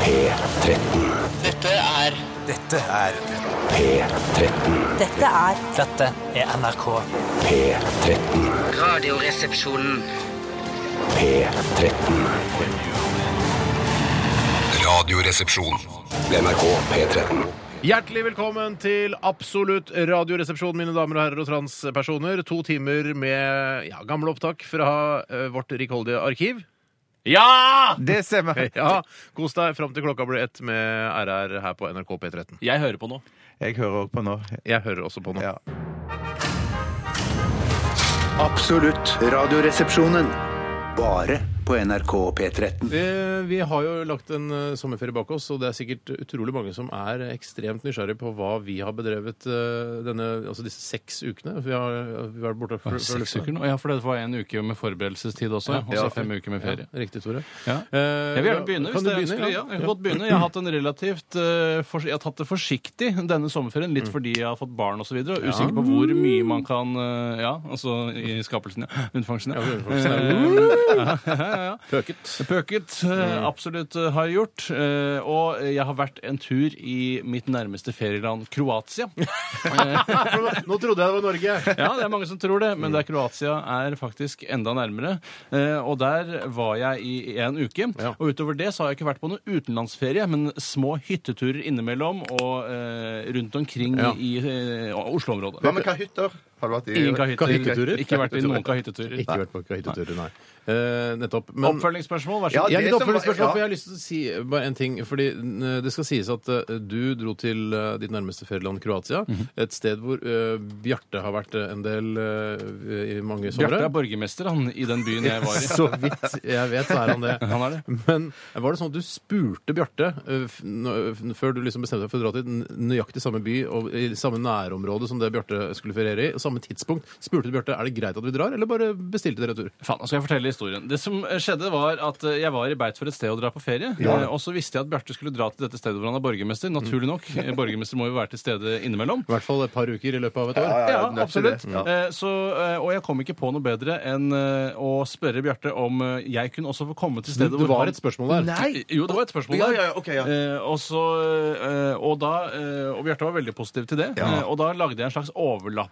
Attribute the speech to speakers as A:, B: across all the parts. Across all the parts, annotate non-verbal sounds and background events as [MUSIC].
A: P13.
B: Dette er
C: Dette er
A: P13.
D: Dette er
E: Dette er NRK.
A: P13.
B: Radioresepsjonen.
A: P13.
F: Radioresepsjon.
A: NRK P13.
G: Hjertelig velkommen til Absolutt radioresepsjon, mine damer og herrer og transpersoner. To timer med ja, gamle opptak fra eh, vårt rikholdige arkiv.
H: Ja!
C: Det stemmer.
G: [LAUGHS] Ja, Kos deg fram til klokka blir ett med RR her på NRK P13.
H: Jeg hører på nå.
C: Jeg hører òg på nå.
G: Jeg hører også på nå.
C: Ja.
I: Absolutt radioresepsjonen. Bare på NRK P13.
G: Eh, Vi har jo lagt en eh, sommerferie bak oss, og det er sikkert utrolig mange som er ekstremt nysgjerrige på hva vi har bedrevet eh, denne, altså disse seks ukene. Vi har, vi har vært borte fra, fra
H: Seks
G: lufta.
H: uker nå? Ja, for det var en uke med forberedelsestid også. Og så fem uker med ferie.
G: Ja, riktig, Tore.
H: Ja.
G: Eh,
H: Jeg vil gjerne begynne.
G: kan
H: hvis
G: du
H: det er ønskelig. Ja, jeg kan godt begynne. Jeg har hatt en relativt eh, fors- Jeg har tatt det forsiktig denne sommerferien, litt fordi jeg har fått barn osv. Og, så og usikker på hvor mye man kan eh, Ja, altså i skapelsen, ja. Unnfangsten, ja. [LAUGHS]
G: Pøket.
H: Pøket. eh, Absolutt eh, har jeg gjort. Eh, Og jeg har vært en tur i mitt nærmeste ferieland, Kroatia.
G: Nå trodde jeg det var Norge.
H: Ja, det er mange som tror det, men det er Kroatia er faktisk enda nærmere. Eh, og der var jeg i en uke. Og utover det så har jeg ikke vært på noen utenlandsferie, men små hytteturer innimellom og eh, rundt omkring
G: Ja.
H: i eh, Oslo-området.
J: Hva med kahytter? Har du vært i
H: Ingen kahytteturer.
G: Kahytteturer?
H: Ikke vært i noen kahytteturer.
G: Ikke vært på kahytteturer, nei. Eh, nettopp. Men
H: Oppfølgingsspørsmål, vær
J: Ja,
H: så god.
G: jeg har litt
J: det som var-
G: oppfølgingsspørsmål,
J: ja.
G: for jeg har lyst til å si bare en ting. Fordi eh, det skal sies at eh, du dro til eh, ditt nærmeste ferieland, Kroatia.
H: Mhm.
G: Et sted hvor eh, Bjarte har vært eh, en del eh, i mange
H: Bjarte
G: somre.
H: er borgermester han, i den byen jeg
G: [LAUGHS]
H: var i.
G: Så vidt jeg vet, så er han det.
H: Han er det.
G: Men var det sånn at du spurte Bjarte eh, f- nå- f- før du liksom bestemte deg for å dra til n- nøyaktig samme by og i samme nærområde som det Bjarte skulle feriere i, og samme tidspunkt? Spurte du Bjarte er det greit at vi drar, eller bare bestilte dere tur?
H: Faen, nå skal jeg fortelle historien. Det som eh, skjedde var at eh, jeg var i beit for et sted å dra på ferie, eh, og så visste jeg at Bjarte skulle dra til dette stedet hvor han er borgermester. Naturlig nok. Eh, Borgermester må jo være til stede innimellom.
G: I hvert fall et par uker i løpet av et år.
J: Ja,
H: Ja,
J: nødt til
H: absolutt.
J: det. Ja.
H: Eh, Så, eh, og jeg kom ikke på noe bedre enn eh, å spørre Bjarte om eh, jeg kunne også få komme til
G: Det,
H: stedet
G: det var
H: han-
G: et spørsmål der.
H: Nei! Eh, Jo, det var et spørsmål
J: Ja,
H: der.
J: ja, ja, ok, ja.
H: Eh, og, så, eh, og, da, eh, og Bjarte var veldig positiv til det. Eh, og da lagde jeg en slags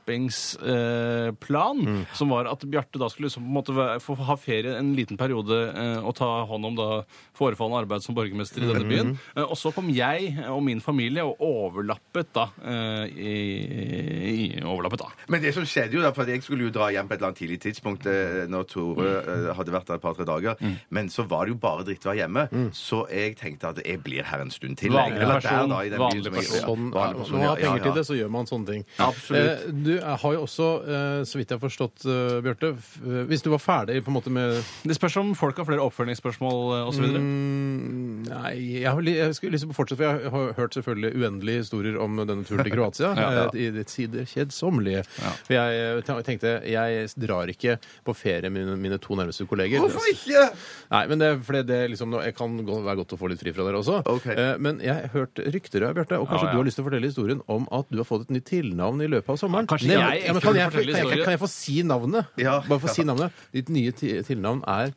H: overlappingsplan, eh, plan,
J: Mm.
H: som var at Bjarte da skulle liksom, på en måte være- få ha ferie en liten periode eh, og ta hånd om da forefallende arbeid som borgermester i denne
J: Mm.
H: byen. Eh, og så kom jeg og min familie og overlappet da. Eh, i, i, overlappet da.
J: Men det som skjedde jo da, for at jeg skulle jo dra hjem på et eller annet tidlig tidspunkt eh, når Tore eh, hadde vært der et par-tre dager,
H: Mm.
J: men så var det jo bare drittvær hjemme, så jeg tenkte at jeg blir her en stund til. jeg.
H: Vanlig
J: Eller der
H: person,
J: da, i den
H: vanlig
J: byen som jeg-
H: person.
G: Sånn,
J: Ja, vanlig
G: Når
J: person,
G: man har
J: ja, ja,
G: penger til
J: ja.
G: det, så gjør man sånne ting.
J: Absolutt.
G: Eh, Du eh, har jo også, eh, så vidt jeg har forstått, eh, Bjarte f- eh, Hvis du var ferdig på en måte med
H: Det spørs om folk har flere oppfølgingsspørsmål eh, og så videre
G: Mm, Nei, jeg, har li- jeg skulle liksom fortsette, for jeg har hørt selvfølgelig uendelige historier om denne turen til Kroatia. eh, I det sider kjedsommelige. For jeg eh, tenkte, jeg drar ikke på ferie med mine, mine to nærmeste kolleger.
J: Hvorfor ikke?
G: Nei, men det, er fordi det er liksom, nå- jeg kan gå, være godt å få litt fri fra dere også.
J: Ok.
G: Eh, men jeg har hørt rykter, ja, Bjarte, og kanskje
H: Ja, ja.
G: du har lyst til å fortelle historien om at du har fått et nytt tilnavn i løpet av
H: Ja,
G: sommeren.
H: kanskje
G: Nevn-
H: jeg
G: ja, men
H: ikke
G: kan,
H: vil
G: jeg, kan,
H: fortelle
G: jeg, kan,
H: historien.
G: jeg, få si navnet?
J: Ja.
G: Bare få si navnet. Ditt nye ti- tilnavn er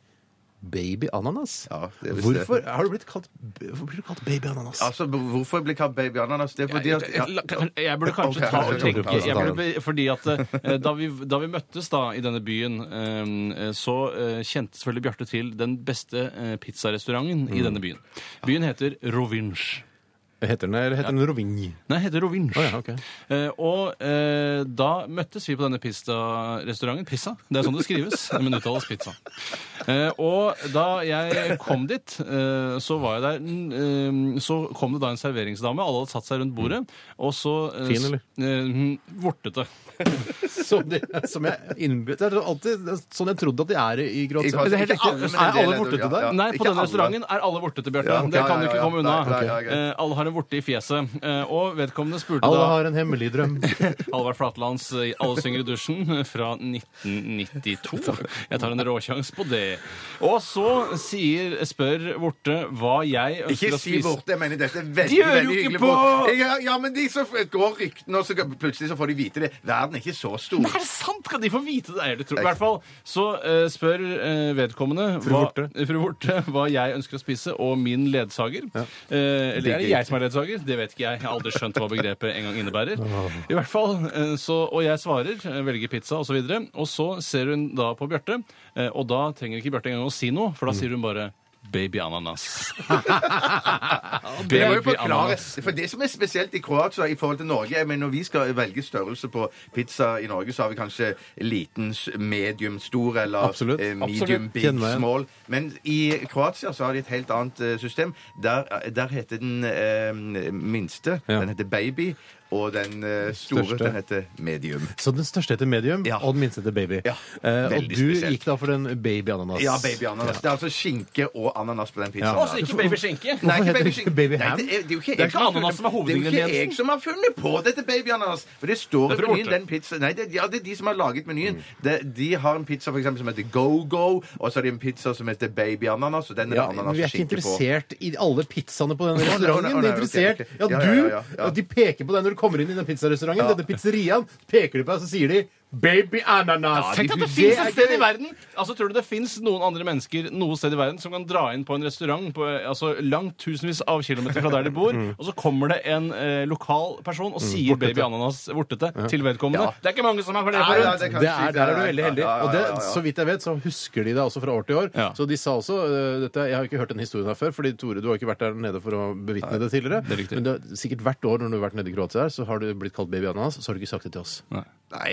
G: Baby Ananas.
J: Ja, det visste jeg.
G: hvorfor har du blitt kalt, hvorfor blir du kalt Baby Ananas?
J: Altså, hvorfor blir kalt baby ananas? Det er fordi at ja.
H: La- kan- Jeg burde kanskje
J: Ok,
H: ta og
G: tror
J: jeg
G: du
H: tenke
G: kan ta
H: jeg burde,
G: den.
H: be- Fordi at eh, da vi, da vi møttes da i denne byen, eh, så eh, kjente selvfølgelig Bjarte til den beste eh, pizzarestauranten
J: Mm.
H: i denne byen. Byen heter Rovinj.
G: Heter den, eller heter den Rovinj?
H: Nei, heter Rovinj.
G: Å ja, ok.
H: eh, og eh, da møttes vi på denne pizzarestauranten. Pizza. Det er sånn det skrives, men uttales pizza. Eh, og da jeg kom dit, eh, så var jeg der mm, eh, Så kom det da en serveringsdame. Alle hadde satt seg rundt bordet. Og så eh,
G: Fin, eller?
H: s- Eh, mm, vortete.
G: Som, de, som jeg innbyr- Det er alltid sånn jeg trodde at de er i, i
J: I
G: Kroatia.
J: Kroatia.
G: Men det er helt
J: Ikke alle,
G: riktig.
J: men en
G: Er
J: del
G: alle
J: er det,
G: borte
J: ja,
G: til deg?
J: ja.
H: Nei, på
J: Ikke
H: denne
J: alle.
H: restauranten er alle vortete, Bjarte.
J: Ja, ok,
H: det kan
J: ja,
H: du ikke
J: ja,
H: komme
J: ja.
H: unna.
J: Nei, nei, ja, greit.
H: Eh, alle har har en vorte i fjeset. Eh, Og vedkommende spurte
G: Alle
H: da
G: har en hemmelig drøm.
H: [LAUGHS] Halvard Flatlands eh, 'Alle synger i dusjen' eh, fra
J: [LAUGHS]
H: 1992. Jeg tar en råsjans på det. Og så sier, spør Vorte hva jeg ønsker
J: Ikke
H: å
J: si
H: spise.
J: borte. Jeg mener dette er
H: De
J: veldig
H: hører
J: veldig
H: jo ikke
J: hyggelig.
H: på!
J: bort. Jeg, ja, men de som går ryktene, og så plutselig så får de vite det. Verden er ikke så stor.
H: Nei, er det sant? Kan de få vite det? Er det tro? I hvert fall så eh, spør eh, vedkommende hva, [LAUGHS] Fru Vorte hva jeg ønsker å spise, og min ledsager. Eh, eller er det jeg som er ledsager? Det vet ikke jeg. Jeg har aldri skjønt hva begrepet en gang [LAUGHS] innebærer. I hvert fall, eh, så, Og jeg svarer, eh, velger pizza osv., og, så videre, og så ser hun da på Bjarte, eh, og da trenger ikke Bjarte engang å si noe, for da sier hun bare Baby [LAUGHS] ananas.
J: Men jeg må jo
H: Baby
J: forklare,
H: ananas.
J: for Det som er spesielt i Kroatia i forhold til Norge er, men Når vi skal velge størrelse på pizza i Norge, så har vi kanskje liten, s- medium, stor eller
G: Absolutt.
J: eh, medium,
G: Absolutt.
J: big,
G: Kjenner meg igjen.
J: small. Men i Kroatia så har de et helt annet eh, system. Der, der heter den eh, minste
G: Ja.
J: Den heter baby. Og den eh, store,
G: Største.
J: den heter medium.
G: Så den største heter medium,
J: Ja.
G: og den minste heter baby.
J: Ja,
G: Eh, og
J: veldig
G: du
J: spesielt.
G: gikk da for den baby ananas.
J: Ja, baby ananas. Det er altså skinke og ananas på den pizzaen.
G: Ja.
J: der.
H: Altså ikke baby skinke.
G: Hvorfor
J: Nei, ikke
G: heter
J: baby
G: det
J: skinke.
G: ikke baby ham?
J: Nei, det er, det er jo ikke,
H: er
J: jeg
H: ikke ananas som er
J: funnet- Det er jo
H: hovedingrediensen.
J: ikke jeg som har funnet på dette baby-ananas. For det står
H: Det er
J: i
H: fra
J: menyen,
H: Orte.
J: den pizza... Nei, det, ja, det er de som har laget menyen. De, de har en pizza for eksempel, som heter Go-Go, og så har de en pizza som heter baby-ananas, og den er det
G: Ja, men vi er ikke
J: ananas-skinke på.
G: interessert i alle pizzaene på
J: [LAUGHS]
G: den
J: Å, nei, å,
G: restauranten.
J: nei,
G: Vi er
J: ok,
G: interessert
J: ok.
G: Ja,
J: Ja, ja, ja, ja,
G: du
J: ja.
G: ja, De peker på deg når du kommer inn i den pizzarestauranten,
J: Ja.
G: denne pizzeriaen, peker de på deg, så sier de 'baby ananas'.
H: Tenk at det fins et sted i verden Altså, Tror du det fins noen andre mennesker noe sted i verden som kan dra inn på en restaurant på, eh, altså, langt tusenvis av kilometer fra der de
J: [LAUGHS]
H: bor,
J: Mm.
H: og så kommer det en eh, lokal person og sier baby ananas vortete til vedkommende? Det er ikke mange som er for det
J: Nei,
H: forunt.
J: det kan
G: Det
J: skje,
G: er, der er du veldig heldig.
J: Ja, ja, ja,
G: Og det,
J: ja, ja.
G: så vidt jeg vet, så husker de det også fra år til år.
H: Ja.
G: Så de sa også eh, dette, Jeg har ikke hørt den historien her før, fordi Tore, du har ikke vært der nede for å bevitne det tidligere.
H: er riktig.
G: Men det er sikkert hvert år når du har vært nede i Kroatia, her, så har du blitt kalt baby ananas, så har du ikke sagt det til oss.
J: Nei,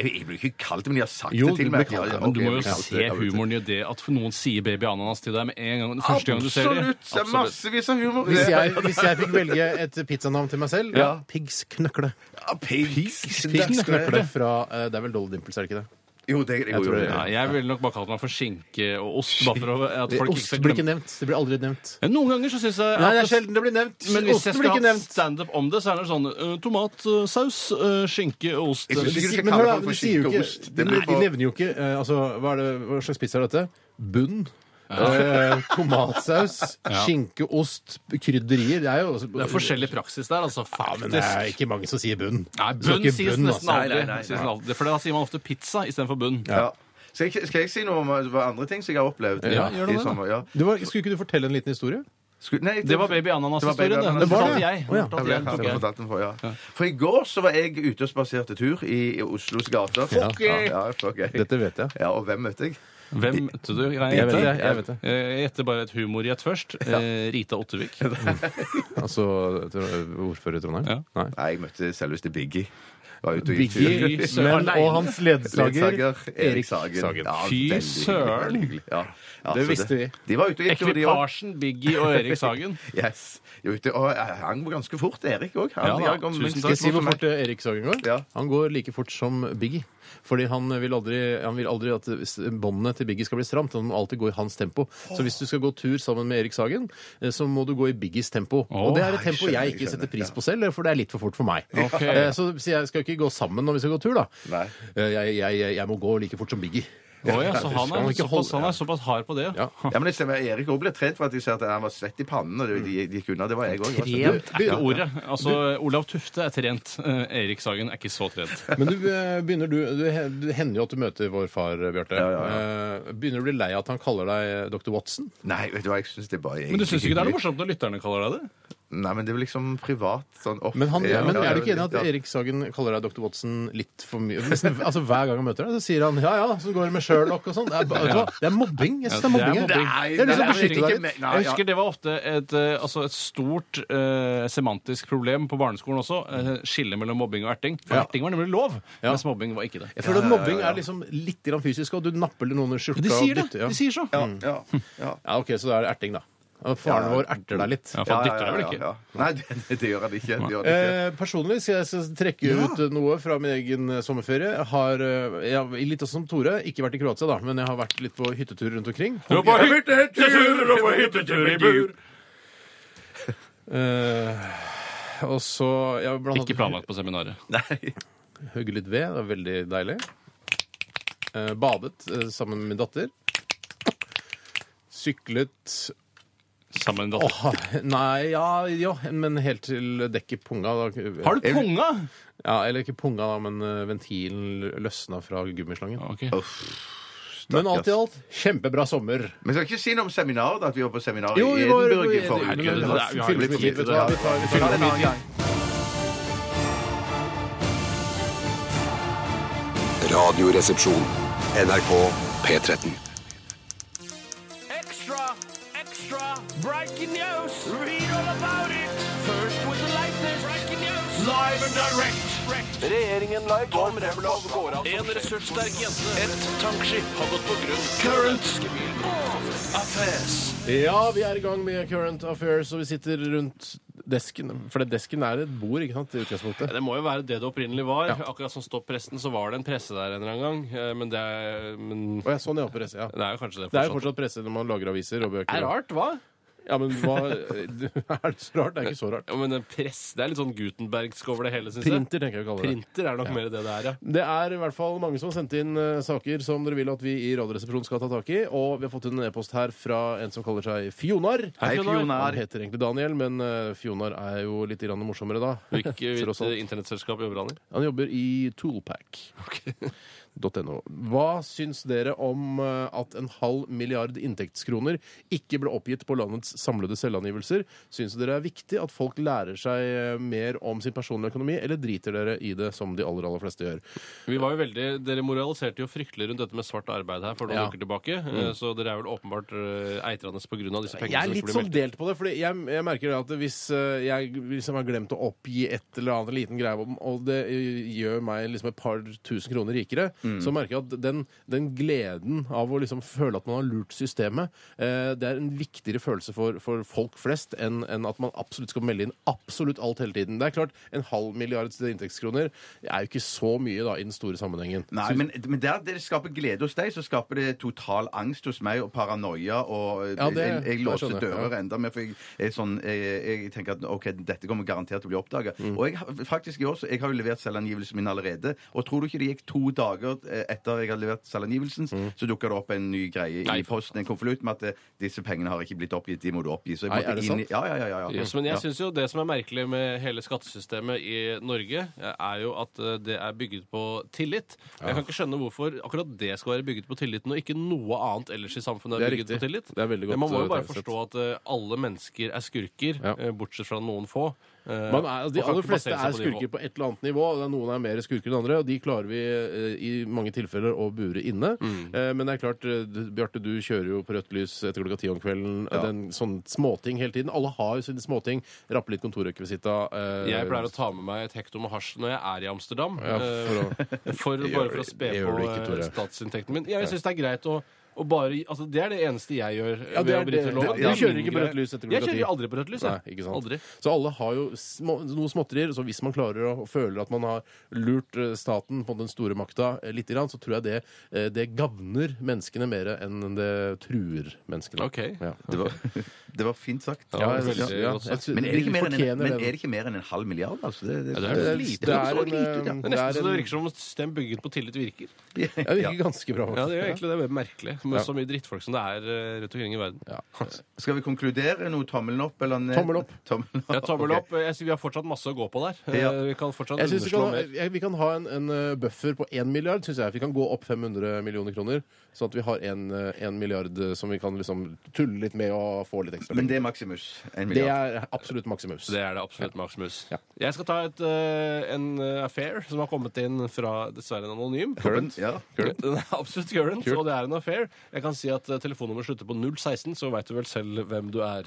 J: jeg blir ikke kalt det, men de har sagt
G: Jo,
J: det til
G: du
J: meg.
G: blir kalt det,
J: Ja, ja,
H: Men du
J: ok,
H: må
J: jeg
H: jo
J: blir kalt
H: se
J: det.
H: humoren i det at noen sier baby ananas til deg med en gang, den første gang du ser det.
J: Absolutt! Det er massevis av humor. [LAUGHS]
G: Hvis jeg, hvis jeg fikk velge et pizzanavn til meg selv, ja.
H: Ja.
G: Pigs Knøkle.
J: Ja, Pigs.
G: Pigs
J: Pigs.
G: Knøkle fra eh, Det er vel Dolly Dimples, er det ikke det?
J: Jo, det er jo
G: tror det
J: det.
H: Ja,
G: er-
H: jeg ville nok bare kalt meg for skinke og ost. Bare for å,
J: Eh,
H: at folk ikke
G: Ost
H: skal
G: blir ikke
H: glemme
G: nevnt. Det blir aldri nevnt.
H: Ja, Noen ganger så syns jeg
G: Nei, det
H: at
G: er sjelden det blir nevnt.
H: Men hvis jeg
G: Osten
H: skal
G: blir ikke
H: ha
G: nevnt.
H: standup om det, så er det sånn uh, tomat, uh, saus, uh, skinke, ost
J: Jeg synes
G: De
J: ikke du
G: sier-
J: skal
G: Men
J: kalle
G: hør da,
J: folk
G: de
J: for
G: sier jo
J: skinke og
G: ikke
J: ost.
G: De
J: Det blir
G: de
J: for-
G: nevner jo ikke eh, altså, hva, er det, hva slags pizza er dette? Bunn? Eh, tomatsaus,
H: Ja.
G: skinke, ost, krydderier Det er jo også-
H: Det er forskjellig praksis der, altså.
G: Ja, men det er
H: Faktisk.
G: ikke mange som sier bunn.
H: Nei,
G: Det står
H: bunn
G: ikke
H: sies
G: bunn,
H: nesten
G: altså.
H: aldri.
J: Nei, nei, nei,
H: Sies aldri. For da sier man ofte pizza istedenfor bunn.
J: Ja. Skal jeg, skal jeg si noe om hva andre ting som jeg har opplevd?
H: Ja,
J: i
H: gjør det da.
J: sommer? Ja.
G: Du var, skulle ikke du fortelle en liten historie?
J: Skulle- nei,
H: Det var baby ananas-historien, det. Den
J: ananas.
G: Det var det,
H: fortalte
G: ja.
H: jeg.
G: Å, ja.
H: Den fortalte
J: Ja,
H: jeg, den tok
J: jeg har
H: jeg.
J: fortalt den før, ja. For i går så var jeg ute og spaserte tur i, i Oslos gater. Fuck
G: Ja.
J: yeah! Ja, fuck yeah.
G: Dette vet jeg.
J: Ja, og hvem møtte jeg?
H: Hvem møtte du? Kan
G: Jeg vet
H: gjette?
G: det, jeg vet det.
H: Eh, Jeg gjetter bare et humorgjett først. Eh, Rita Ottervik.
G: Altså tro- ordfører i Trondheim?
H: Ja.
G: Nei.
J: Nei, jeg møtte selveste Biggie. Var ute og gikk tur.
G: Biggie men, og hans ledsager
J: Ledsager Erik Sagen. Ja,
H: Fy
J: veldig hyggelig,
H: søren.
J: veldig hyggelig. Ja. altså, Ja,
G: Det
J: så
G: visste vi.
J: De var ute og gikk tur, de òg.
H: Ekvipasjen Biggie og Erik
G: [LAUGHS]
H: Sagen.
J: Yes. De var ute, og jeg hang ganske fort, Erik òg.
H: Ja da, tusen takk.
G: Skal jeg si hvor fort eh, Erik Sagen går?
J: Ja.
G: Han går like fort som Biggie. Fordi han vil aldri, han vil aldri at s- båndene til Biggie skal bli stramt. Han må alltid gå i hans tempo. Så hvis du skal gå tur sammen med Erik Sagen, eh, så må du gå i Biggies tempo. og det er et
J: jeg
G: tempo
J: skjønner,
G: jeg
J: jeg
G: ikke
J: skjønner.
G: setter pris på selv, for det er litt for fort for meg.
H: Ok.
G: Eh, Så sier jeg skal ikke gå sammen når vi skal gå tur, da.
J: Nei.
G: Eh, Jeg, jeg, jeg, jeg må gå like fort som Biggie.
H: Å ja, så han
G: Skal
H: er
G: man ikke
H: såpass,
G: holde-
H: han er såpass hard på det, ja.
G: Ja.
J: Ja, men jeg stemmer, Erik òg ble trent for at jeg sa at han var svett i pannen. Og det- de, de gikk unna. Det var jeg òg.
G: Du-
H: Det er ikke ordet. Altså, Olav Tufte er trent. Eh, Erik Sagen er ikke så trent.
G: Men du eh, begynner du, du Det hender jo at du møter vår far, eh, Bjarte. Eh, Begynner du å bli lei av at han kaller deg dr. Watson?
J: Nei, vet du hva, jeg syns det bare
H: Men du syns ikke det er noe morsomt når lytterne kaller deg det?
J: Nei, men det er jo liksom privat sånn off
G: Men, han,
J: Ja,
G: men
J: ja,
G: er du ikke
J: ja,
G: enig i at
J: ja.
G: Erik Sagen kaller deg Dr. Watson litt for mye? Nesten- Altså Hver gang han møter deg, så sier han ja ja, så går det med Sherlock og sånn. Det, er ba- vet du hva? det er mobbing. Jeg synes det er mobbing.
H: Ja, det er
G: jeg. Jeg har
J: mobbing.
G: lyst til å
J: Nei, det er
G: beskytte
J: liksom, ikke
G: deg litt.
J: me- Nei,
H: Jeg husker
J: ja.
H: det var ofte et, eh, altså et stort eh, semantisk problem på barneskolen også. Eh, Skillet mellom mobbing og erting. For
G: Ja.
H: erting var nemlig lov,
G: Ja.
H: mens mobbing var ikke det.
G: Jeg føler at mobbing er liksom litt grann fysisk, og du napper noen i skjorta.
H: De sier
G: og
H: det!
G: dytter, ja.
H: De sier så. Ja,
J: Ja, ja.
G: Ja, OK, så da er det erting, da. Og Faren vår erter deg litt.
H: for han dytter deg vel
J: ja,
H: ikke?
J: ja. Nei, det, det, det gjør han ikke. Det gjør han ikke.
G: Eh, personlig skal jeg s- trekke ut eh, noe fra min egen eh, sommerferie. Jeg Har, eh, jeg, har- litt også som Tore, ikke vært i Kroatia, da, men jeg har vært litt på hyttetur rundt omkring.
H: Og på hyttetur og på hyttetur i bur.
G: Eh, Og så ja, blant annet-
H: Ikke planlagt på seminaret.
J: Nei.
G: Hugge litt ved. Det var veldig deilig. Eh, badet eh, sammen med min datter. Syklet
H: Sammen med datter.
G: Åh, Nei, ja, ja, men helt til dekket punga. Da.
H: Har du punga?!
G: Ja, eller ikke punga, da, men eh, ventilen løsna fra gummislangen.
H: Ok.
G: men alt i alt, kjempebra sommer.
J: Men skal ikke si noe om seminaret, da, at vi var på seminar
G: Jo,
J: i
G: vi var-
J: Edinburgh i
G: vi- vi-
J: forrige uke.
G: vi-
J: Det var
G: vi- vi- vi-
J: fyldig
G: vi-
J: tid.
G: vi- vi- vi- vi- vi-
J: Fyldig
G: vi-
J: tid.
A: Radioresepsjon. NRK P13.
H: Extra, extra, breaking news. Read all about it. First with the latest breaking news. Live and direct. Regjeringen live. En ressurssterk jente. Et tankskip har gått på grunn. Current affairs.
G: Ja, vi er i gang med Current Affairs, og vi sitter rundt desken. For det desken er et bord, ikke sant? i utgangspunktet.
H: Det må jo være det det opprinnelig var. Akkurat som Stopp presten, så var det en presse der en eller annen gang. Eh, Men det er, men
G: Å, ja, sånn er presse, ja.
H: det er jo kanskje det
G: Det er jo
H: fortsatt.
G: fortsatt presse når man lager aviser og bøker.
H: Det er rart, hva?
G: Ja, men hva, [LAUGHS] Er det så rart? Det er ikke så rart.
H: Ja, men en press, det er litt sånn Gutenbergsk over det hele, syns jeg.
G: Printer, tenker jeg vi kaller det.
H: Printer er nok mer det det er,
G: [LAUGHS]
H: ja.
G: Det er i hvert fall mange som har sendt inn eh, saker som dere vil at vi i Radioresepsjonen skal ta tak i. Og vi har fått en e-post her fra en som kaller seg Fjonar.
J: Hei, Fjonar.
G: Han heter egentlig Daniel, men eh, Fjonar er jo litt grann morsommere da. [LAUGHS] Tross
H: Hvilket
G: alt.
H: eh, internettselskap jobber han i?
G: Han jobber i toolpack.no. Hva syns dere om eh, at en halv milliard inntektskroner ikke ble oppgitt på landets samlede selvangivelser? Syns dere det er viktig at folk lærer seg eh, mer om sin personlige økonomi, eller driter dere i det som de aller, aller fleste gjør?
H: Vi var jo veldig, Dere moraliserte jo fryktelig rundt dette med svart arbeid her for noen
G: Ja. Mm.
H: uker tilbake. eh, Så dere er vel åpenbart eh, eitrende pga. disse pengene
G: Jeg er
H: som
G: litt
H: ikke
G: sånn
H: blir meldt.
G: delt på det, for jeg, jeg merker det at hvis eh, jeg liksom har glemt å oppgi et eller annet liten greie om, og det eh, gjør meg liksom et par tusen kroner rikere,
H: Mm.
G: så merker jeg at den, den gleden av å liksom føle at man har lurt systemet, eh, det er en viktigere følelse for, for folk flest enn enn at man absolutt skal melde inn absolutt alt hele tiden. Det er klart, en halv milliard inntektskroner er jo ikke så mye da i den store sammenhengen.
J: Nei, men, men der det skaper glede hos deg, så skaper det total angst hos meg og paranoia. Og eh,
G: Ja, det-
J: jeg, jeg
G: det
J: låser
G: skjønner jeg,
J: dører
G: ja.
J: enda mer, for jeg, er sånn, jeg, jeg tenker at ok, dette kommer garantert til å bli oppdaga.
G: Mm.
J: Og jeg, har- faktisk i år, så jeg har jo levert selvangivelsen min allerede. Og tror du ikke det gikk to dager eh, etter jeg hadde levert selvangivelsen,
G: Mm.
J: så dukka det opp en ny greie
H: Nei.
J: i posten, en konvolutt, med at eh, disse pengene har ikke blitt oppgitt, de må du oppgi. Så jeg
G: Nei,
J: måtte
G: er det
J: inn i-
G: sant?
J: Ja, ja, ja. ja, ja.
H: Yes, men jeg
J: Ja.
H: synes jo Det som er merkelig med hele skattesystemet i Norge, eh, er jo at eh, det er bygget på tillit. Og Jeg kan ikke skjønne hvorfor akkurat det skal være bygget på tilliten, og ikke noe annet ellers i samfunnet er,
G: Det er
H: bygget
G: riktig.
H: på tillit.
G: Det er veldig godt,
H: Man må
G: eh,
H: jo bare
G: tankesett.
H: forstå at eh, alle mennesker er skurker,
G: Ja.
H: eh, bortsett fra noen få. Eh,
G: Man er,
H: og
G: de
H: kan
G: aller
H: ikke
G: fleste
H: basere seg
G: er
H: på det nivå.
G: skurker på et eller annet nivå. og det er Noen er mer skurker enn andre, og de klarer vi eh, i mange tilfeller å bure inne.
H: Mm.
G: Eh, Men det er klart, eh, du- Bjarte, du kjører jo på rødt lys etter klokka ti om kvelden. eh, Den, sånn småting hele tiden. Alle har jo sine småting. Rappe litt kontorrekvisitta. eh,
H: Jeg pleier å ta med meg et hekto med hasj når jeg er i Amsterdam.
G: Ja, for
H: eh, for,
G: [LAUGHS] Det
H: bare
G: gjør-
H: for å spe
G: det gjør
H: på
G: du ikke,
H: eh,
G: Tore.
H: statsinntekten min. Ja, jeg syns det er greit å å bare, altså det er det eneste jeg gjør.
G: Ja, det
H: ved
G: er
H: å bryte
G: det.
H: loven.
G: Du-
H: Det er
G: du kjører
H: min
G: ikke på
H: greie.
G: rødt lys etter
H: Jeg
G: klokka ti.
H: kjører aldri på rødt lys. jeg.
G: Nei, ikke sant.
H: Aldri.
G: Så alle har jo små, noen småtterier. Så hvis man klarer å føle at man har lurt eh, staten på den store makta eh, lite grann, så tror jeg det, eh, det gagner menneskene mer enn det truer menneskene.
H: Ok.
G: Ja.
J: Det var, [LAUGHS] det var fint sagt.
G: Ja,
H: det var
G: jeg-
H: veldig
G: ja,
H: godt
G: jeg
H: sagt.
G: sy-
J: Men er, det ikke mer enn en,
G: fortjener
J: men
G: det.
J: er det ikke mer enn en halv milliard? Altså? Det, det,
H: Ja, det er
G: Det-
J: lite.
G: det er
J: så
G: en,
J: lite ut, ja.
H: Det er nesten så det virker som om et system bygget på tillit virker.
G: Ja, det virker ganske bra.
H: Ja, Det gjør
G: faktisk.
H: egentlig det er veldig merkelig. Med så mye drittfolk som det er eh, rundt omkring i verden.
G: Ja.
J: Skal vi konkludere noe? Tommelen opp eller ned?
G: eh, Tommel opp.
J: [LAUGHS] Tommel opp.
H: Ja,
G: [LAUGHS]
H: tommel
J: ok.
H: opp. Jeg synes Vi har fortsatt masse å gå på der. Eh,
J: Ja.
H: Vi kan fortsatt
G: Jeg synes vi,
H: underslå
G: kan,
H: mer.
G: jeg, vi kan ha en, en eh, buffer på 1 milliard, synes jeg. Vi kan gå opp 500 millioner kroner, sånn at vi har 1 milliard eh, som vi kan liksom tulle litt med og få litt ekstra. penger.
J: Men det er Maximus. En
G: det
J: milliard.
G: er absolutt maksimus.
H: Det er det absolutt, Max Mus.
G: Ja.
H: Jeg skal ta et, eh, en eh, affair som har kommet inn fra dessverre en anonym.
J: Current, ja.
H: Current. Den er absolutt current, og det er en affair. Jeg kan si at eh, telefonnummeret slutter på 016, så veit du vel selv hvem du er.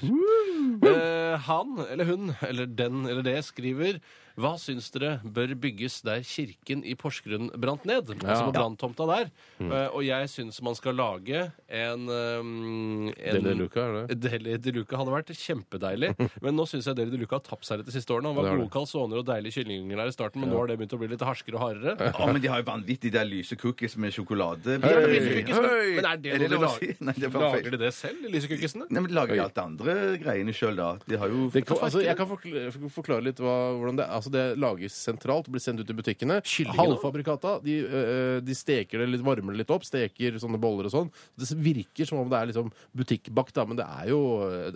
H: Eh, han eller hun eller den eller det skriver Hva syns dere bør bygges der kirken i Porsgrunn brant ned? Altså på branntomta der.
G: Mm.
H: Eh, og jeg syns man skal lage en, um, en
G: Deli de Luca, er det?
H: Deli de Luca hadde vært kjempedeilig.
G: [LAUGHS]
H: Men nå syns jeg Deli de Luca har tapt seg litt de siste årene. Han
G: Det har
H: var
G: det.
H: gode kalsoner og deilige kyllinger der i starten, men nå har det begynt å bli litt harskere og hardere.
J: Å, men de har jo vanvittig de der lyse cookies med sjokolade.
H: Ja, det blir så mye smak. Men er Er det,
J: Er
H: noe
J: det
H: de
J: lov å
H: lager?
J: si? Nei, det var feil.
H: lager de det selv, Lysekukisene?
J: Nei, men Lager de alt det andre greiene sjøl, da? De har jo
G: Det kan, altså, jeg kan forklare, forklare litt hva, hvordan det er. Altså, det lages sentralt, blir sendt ut i butikkene. Halvfabrikata de, øh, de steker det litt, varmer det litt opp, steker sånne boller og sånn. Det virker som om det er liksom butikkbakt, da, men det er jo,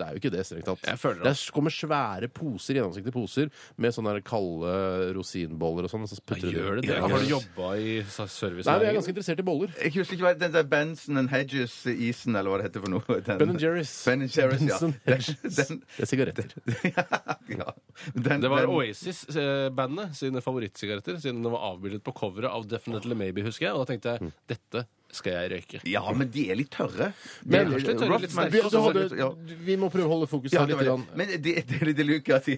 G: det er jo ikke det strengt tatt.
H: Jeg føler det.
G: det kommer svære poser, gjennomsiktige poser, med sånne der kalde rosinboller og sånn. og så putter de
H: Gjør det det?
G: Ja,
H: Har du
G: Nei,
H: jobba i service?
G: men jeg er ganske interessert i boller.
J: Jeg husker ikke hva den der Benson and Hedges-isen, eller hva det heter for noe. Den,
G: Ben Jerry's.
J: Ben Jerry's, ja.
G: Benson Hedges.
J: Den,
G: Det er sigaretter.
J: den, [LAUGHS] ja. Den,
H: Det var
J: den-
H: Oasis-bandet sine favorittsigaretter, siden den var avbildet på coveret av Definitely Maybe, husker jeg. Og da tenkte jeg dette skal jeg røyke.
J: Ja, men de er litt tørre. De
G: Men-
J: er
H: Litt tørre, litt
J: men-
G: Vi, du hadde,
J: Ja.
G: vi må prøve å holde fokuset
J: Ja,
G: her
J: det
G: litt.
J: var
G: Grann.
J: det. Men Deli de, de Luca de,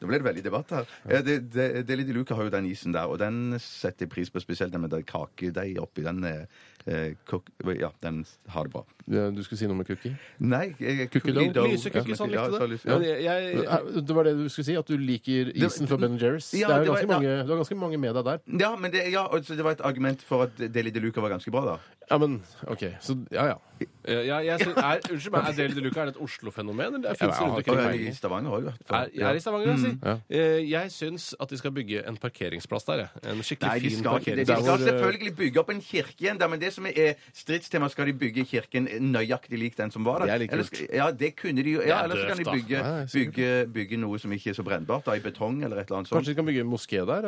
J: Nå ble det veldig debatt her. Eh, de- de- Deli de Luca har jo den isen der, og den setter jeg pris på, spesielt den med den kakedeig oppi. Den, eh, eh, kok, ja, den har det bra.
G: Du skulle si noe med cookie?
J: Nei jeg-
G: Cookie dough?
J: dough.
H: Lysekukis, han
J: Ja,
H: sånn likte
J: så
H: det.
J: lyst- ja.
H: Men jeg, jeg,
G: Eh, Det var det du skulle si? At du liker isen fra Ben Jerry's?
J: Ja,
G: det er
J: det
G: jo
J: var-
G: ganske mange, du har ganske mange med deg der.
J: Ja, men det, ja, altså, det var et argument for at Deli de Luca var ganske bra, da.
G: Ja, men OK. Så ja, ja.
H: Eh, ja, jeg synes, er, unnskyld meg, er Deli de Luca er det et Oslo-fenomen? eller
G: Ja,
H: finnes det rundt
J: Og
H: omkring i
J: jeg er
H: verden?
J: i Stavanger òg, i hvert
H: Er,
J: fall.
H: jeg er i Stavanger, jeg, si.
G: Ja.
H: Eh, Jeg syns at de skal bygge en parkeringsplass der. jeg. En skikkelig
J: Nei, de
H: fin
J: skal, ikke det. de
H: parkeringsplass.
J: skal
G: eh,
J: selvfølgelig bygge opp en kirke igjen, da, men det som er stridstema, skal de bygge kirken nøyaktig lik den som var der?
G: Det er litt
J: Eller
G: kult.
J: skal- ja, det kunne de jo.
H: Det er
J: Ja, eller så kan
H: døvt,
J: de
H: da.
J: bygge,
G: Nei, sikkert.
J: bygge, bygge noe som ikke er så brennbart, da, i betong eller et eller annet sånt.
G: Kanskje vi kan bygge en moské der?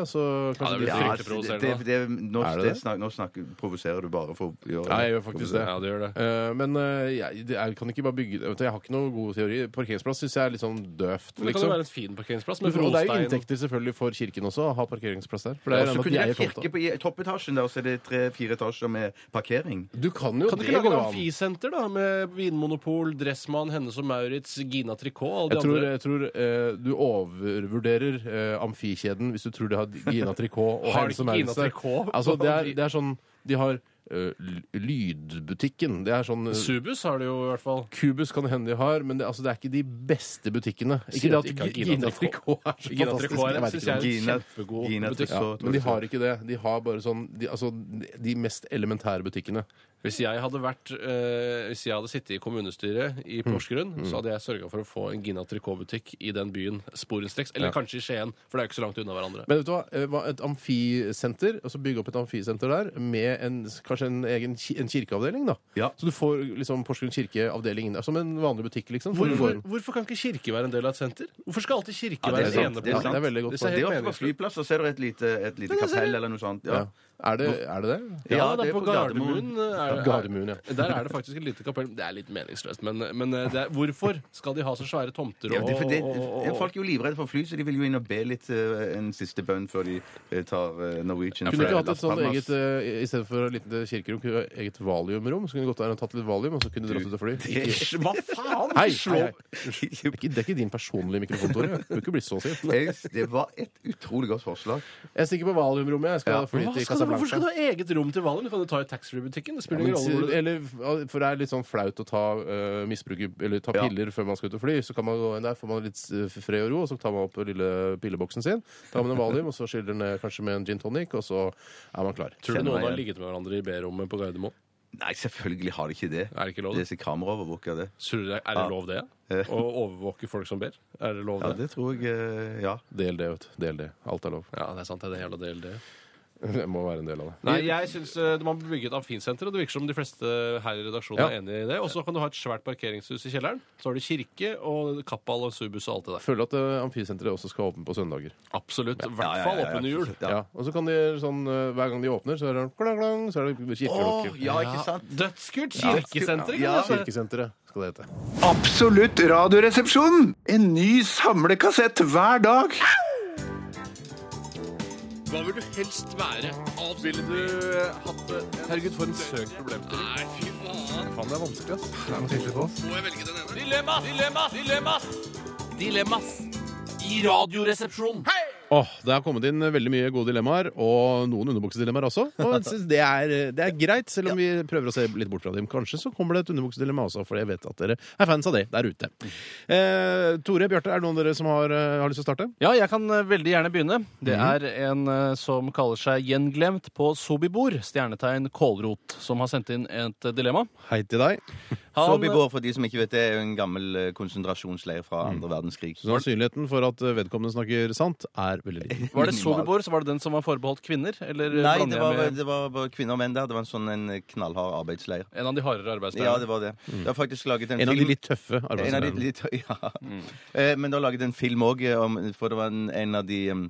H: Ja,
G: Altså,
H: det
G: kanskje
H: blir
G: de-
H: fryktelig
J: altså,
H: provoserende,
J: det, det, det, nå,
G: Er det
J: det
G: det?
J: snak, nå snakker, provoserer du bare for å gjøre
G: Ja, jeg gjør faktisk det.
H: Ja, det gjør det.
G: Eh, men eh, jeg, det er, kan ikke bare bygge vet du, Jeg har ikke noe god teori. Parkeringsplass syns jeg er litt sånn døvt.
H: Men Det kan jo
G: Liksom.
H: være sånn en fin parkeringsplass med
G: Og det er jo
H: brostein.
G: inntekter selvfølgelig for kirken også, å ha parkeringsplass der. For det
J: Ja,
G: er
J: så
G: jo at
J: kunne
G: de
J: de ha
G: eier
J: kirke
G: tomta.
J: på i- toppetasjen der, og så er det tre-fire etasjer med parkering.
G: Du kan jo
H: Kan du
G: det
H: ikke lage et
G: går jo an.
H: amfisenter da, med Vinmonopol, Dressmann, Hennes og Maurits, Gina Tricot og alle
G: Jeg
H: de
G: tror,
H: andre?
G: jeg tror eh, du overvurderer eh, amfikjeden hvis du tror de har Gina Tricot
H: [LAUGHS]
G: og
H: Har
G: henne
H: de
G: som
H: Gina
G: Maurits der.
H: Tricot?
G: Altså, det, er, det er sånn De har eh, l- Lydbutikken. Det er sånn eh,
H: Subus har det jo i hvert fall.
G: Cubus kan det hende de har, men det, altså, det er ikke de beste butikkene.
H: Sier
G: Ikke det
H: at
G: at
H: de ikke har
G: Gi-
H: Gina
G: Gina Tricot er så
H: Gina
G: fantastisk.
H: Tricot er-
G: Jeg vet
H: synes
G: ikke
H: jeg
G: om-
H: er
J: Gina-
H: en kjempegod
J: Gina
H: butikk.
J: Tricot, tror
G: men de
J: jeg.
G: har ikke det. De har bare sånn De, altså, de mest elementære butikkene.
H: Hvis jeg hadde vært eh, Hvis jeg hadde sittet i kommunestyret i
G: Mm.
H: Porsgrunn, så hadde jeg sørga for å få en Gina Tricot-butikk i den byen sporenstreks. Eller kanskje i Skien, for det er jo ikke så langt unna hverandre.
G: Men vet du hva? Eh, hva- Et amfisenter, altså bygge opp et amfisenter der med en, kanskje en egen ki- en kirkeavdeling, da.
J: Ja.
G: Så du får liksom Porsgrunn kirkeavdeling der, som en vanlig butikk, liksom. for du
H: Hvorfor,
G: går-
H: hvorfor kan ikke kirke være en del av et senter? Hvorfor skal alltid kirke
J: Ja, det er
H: være
J: sant,
H: den ene
J: det er
H: plassen?
G: Ja,
J: sant.
G: det er veldig godt
H: Det ser
G: poeng.
J: Det er
H: helt
J: ofte på
H: meningsløst ut.
J: flyplasser, så er det et lite, et lite kapell eller noe sånt. Ja.
G: Ja. Er, det, er det
H: Ja,
G: det?
J: Ja,
H: det er på Gardermoen. eh, er- er-
G: Gardermoen, ja.
H: [LAUGHS] Der er det faktisk et lite kapell. Det er litt meningsløst, men, men eh, det er, hvorfor skal de ha så svære tomter
J: Ja,
H: og,
J: det, for det,
H: og- og- og-
J: folk er jo livredde for fly, så de vil jo inn og be litt eh, en siste bønn før de eh, tar eh, Norwegian.
G: Kunne du
J: fra
G: ikke hatt et
J: Las
G: sånn
J: Palmas.
G: eget eh, I stedet for et lite kirkerom, kunne du ha eget valiumrom? Så kunne du gått der og tatt litt valium, og så kunne du dratt ut og fly. [LAUGHS] Ikke-
H: Hva
J: [LAUGHS]
H: faen?
G: Hei,
H: Slå
G: hei, hei. Det er ikke- Det er ikke din personlige mikrofon, Tore. Du bør ikke bli så sint.
J: Jeg- Det var et utrolig godt forslag.
G: [LAUGHS] Jeg stikker på valiumrommet. Jeg skal
J: Ja.
G: fly
H: Hva
G: til
H: skal du, hvorfor skal du
G: Casablanca.
H: ha eget rom til Valen? Du kan jo ta i taxfree-butikken. Det
G: Ja,
H: spiller
G: men,
H: ingen rolle. hvor du-
G: eller, for det er litt sånn flaut å ta eh, misbruke, eller ta
J: Ja.
G: piller før man skal ut og fly. Så kan man gå inn der, får man litt eh, fred og ro, og så tar man opp lille pilleboksen sin. Tar man en valium, og så skyller den ned kanskje med en gin tonic, og så er man klar.
H: Tror du
J: Kjenner
H: noen
J: meg
H: har
J: igjen.
H: ligget med hverandre i B-rommet på Gardermoen?
J: Nei, selvfølgelig har de ikke det.
H: Er det ikke lov,
J: Det
H: det?
J: er så kameraovervåka, det.
H: Tror du det- Er det lov, det? Å overvåke folk som ber? Er det lov,
J: Ja,
H: det?
J: det tror jeg eh, Ja.
G: Del det, vet du. Del det. Alt er lov. [LAUGHS]
H: Ja, det er sant. Det er en jævla del, det.
G: Det må være en del av det.
H: Nei, jeg synes eh, Man bør bygge et amfinsenter, og det virker som de fleste her i redaksjonen
G: Ja.
H: er enig i det. Og så kan du ha et svært parkeringshus i kjelleren. Så har du kirke og Kappal og Subus og alt det
G: Jeg
H: der.
G: føler at eh, amfisenteret også skal åpne på søndager.
H: Absolutt. I
J: Ja,
H: hvert
J: ja,
H: fall
J: ja, ja.
H: opp under jul.
G: Ja. Og så kan de sånn eh, Hver gang de åpner, så er det klang, klang, så er det
J: Åh,
G: kirkerocker.
J: ja, ikke sant?
H: Dødskult! Kirkesenteret,
J: Ja.
H: kan det hete.
G: Kirkesenteret skal det hete.
I: Absolutt radioresepsjon! En ny samlekassett hver dag.
H: Hva vil du helst være? Ville du eh, hatt det? Herregud, for en søk problemstilling. Nei, fy faen. Faen, det er vanskelig, ass. Må jeg velge den ene? Dilemmas! Dilemmas! Dilemmas! Dilemmas! I Radioresepsjonen. Hei!
G: Åh, Det har kommet inn veldig mye gode dilemmaer, og noen underbuksedilemmaer også. Og jeg synes det er, det er greit, selv om vi prøver å se litt bort fra dem. Kanskje så kommer det et underbuksedilemma også, for jeg vet at dere er fans av det der ute. Eh, Tore, Bjarte, er det noen av dere som har, eh, har lyst til å starte?
H: Ja, jeg kan eh, veldig gjerne begynne. Det er en eh, som kaller seg Gjenglemt på Sobibor, stjernetegn Kålrot, som har sendt inn et eh, dilemma.
G: Hei til deg.
H: Han- eh,
J: Sobibor, for de som ikke vet det, er jo en gammel eh, konsentrasjonsleir fra andre verdenskrig.
G: Så sannsynligheten for at vedkommende snakker sant, er veldig liten.
H: Var det
J: Minimal.
H: Sobibor, så var det den som var forbeholdt kvinner? Eller eh,
J: Nei,
H: blander
J: det
H: jeg
J: var,
H: med
J: det var bare kvinner og menn der. Det var en sånn en knallhard arbeidsleir.
H: en av de hardere arbeidsdelene?
J: Ja, det var det. Det har faktisk laget en,
G: En av
J: film
G: de litt tøffe
J: En av de
G: arbeidsdelene.
J: litt, [LAUGHS] ja.
G: Mm.
J: Eh, Men det har laget en film òg, for det var en, en av de em,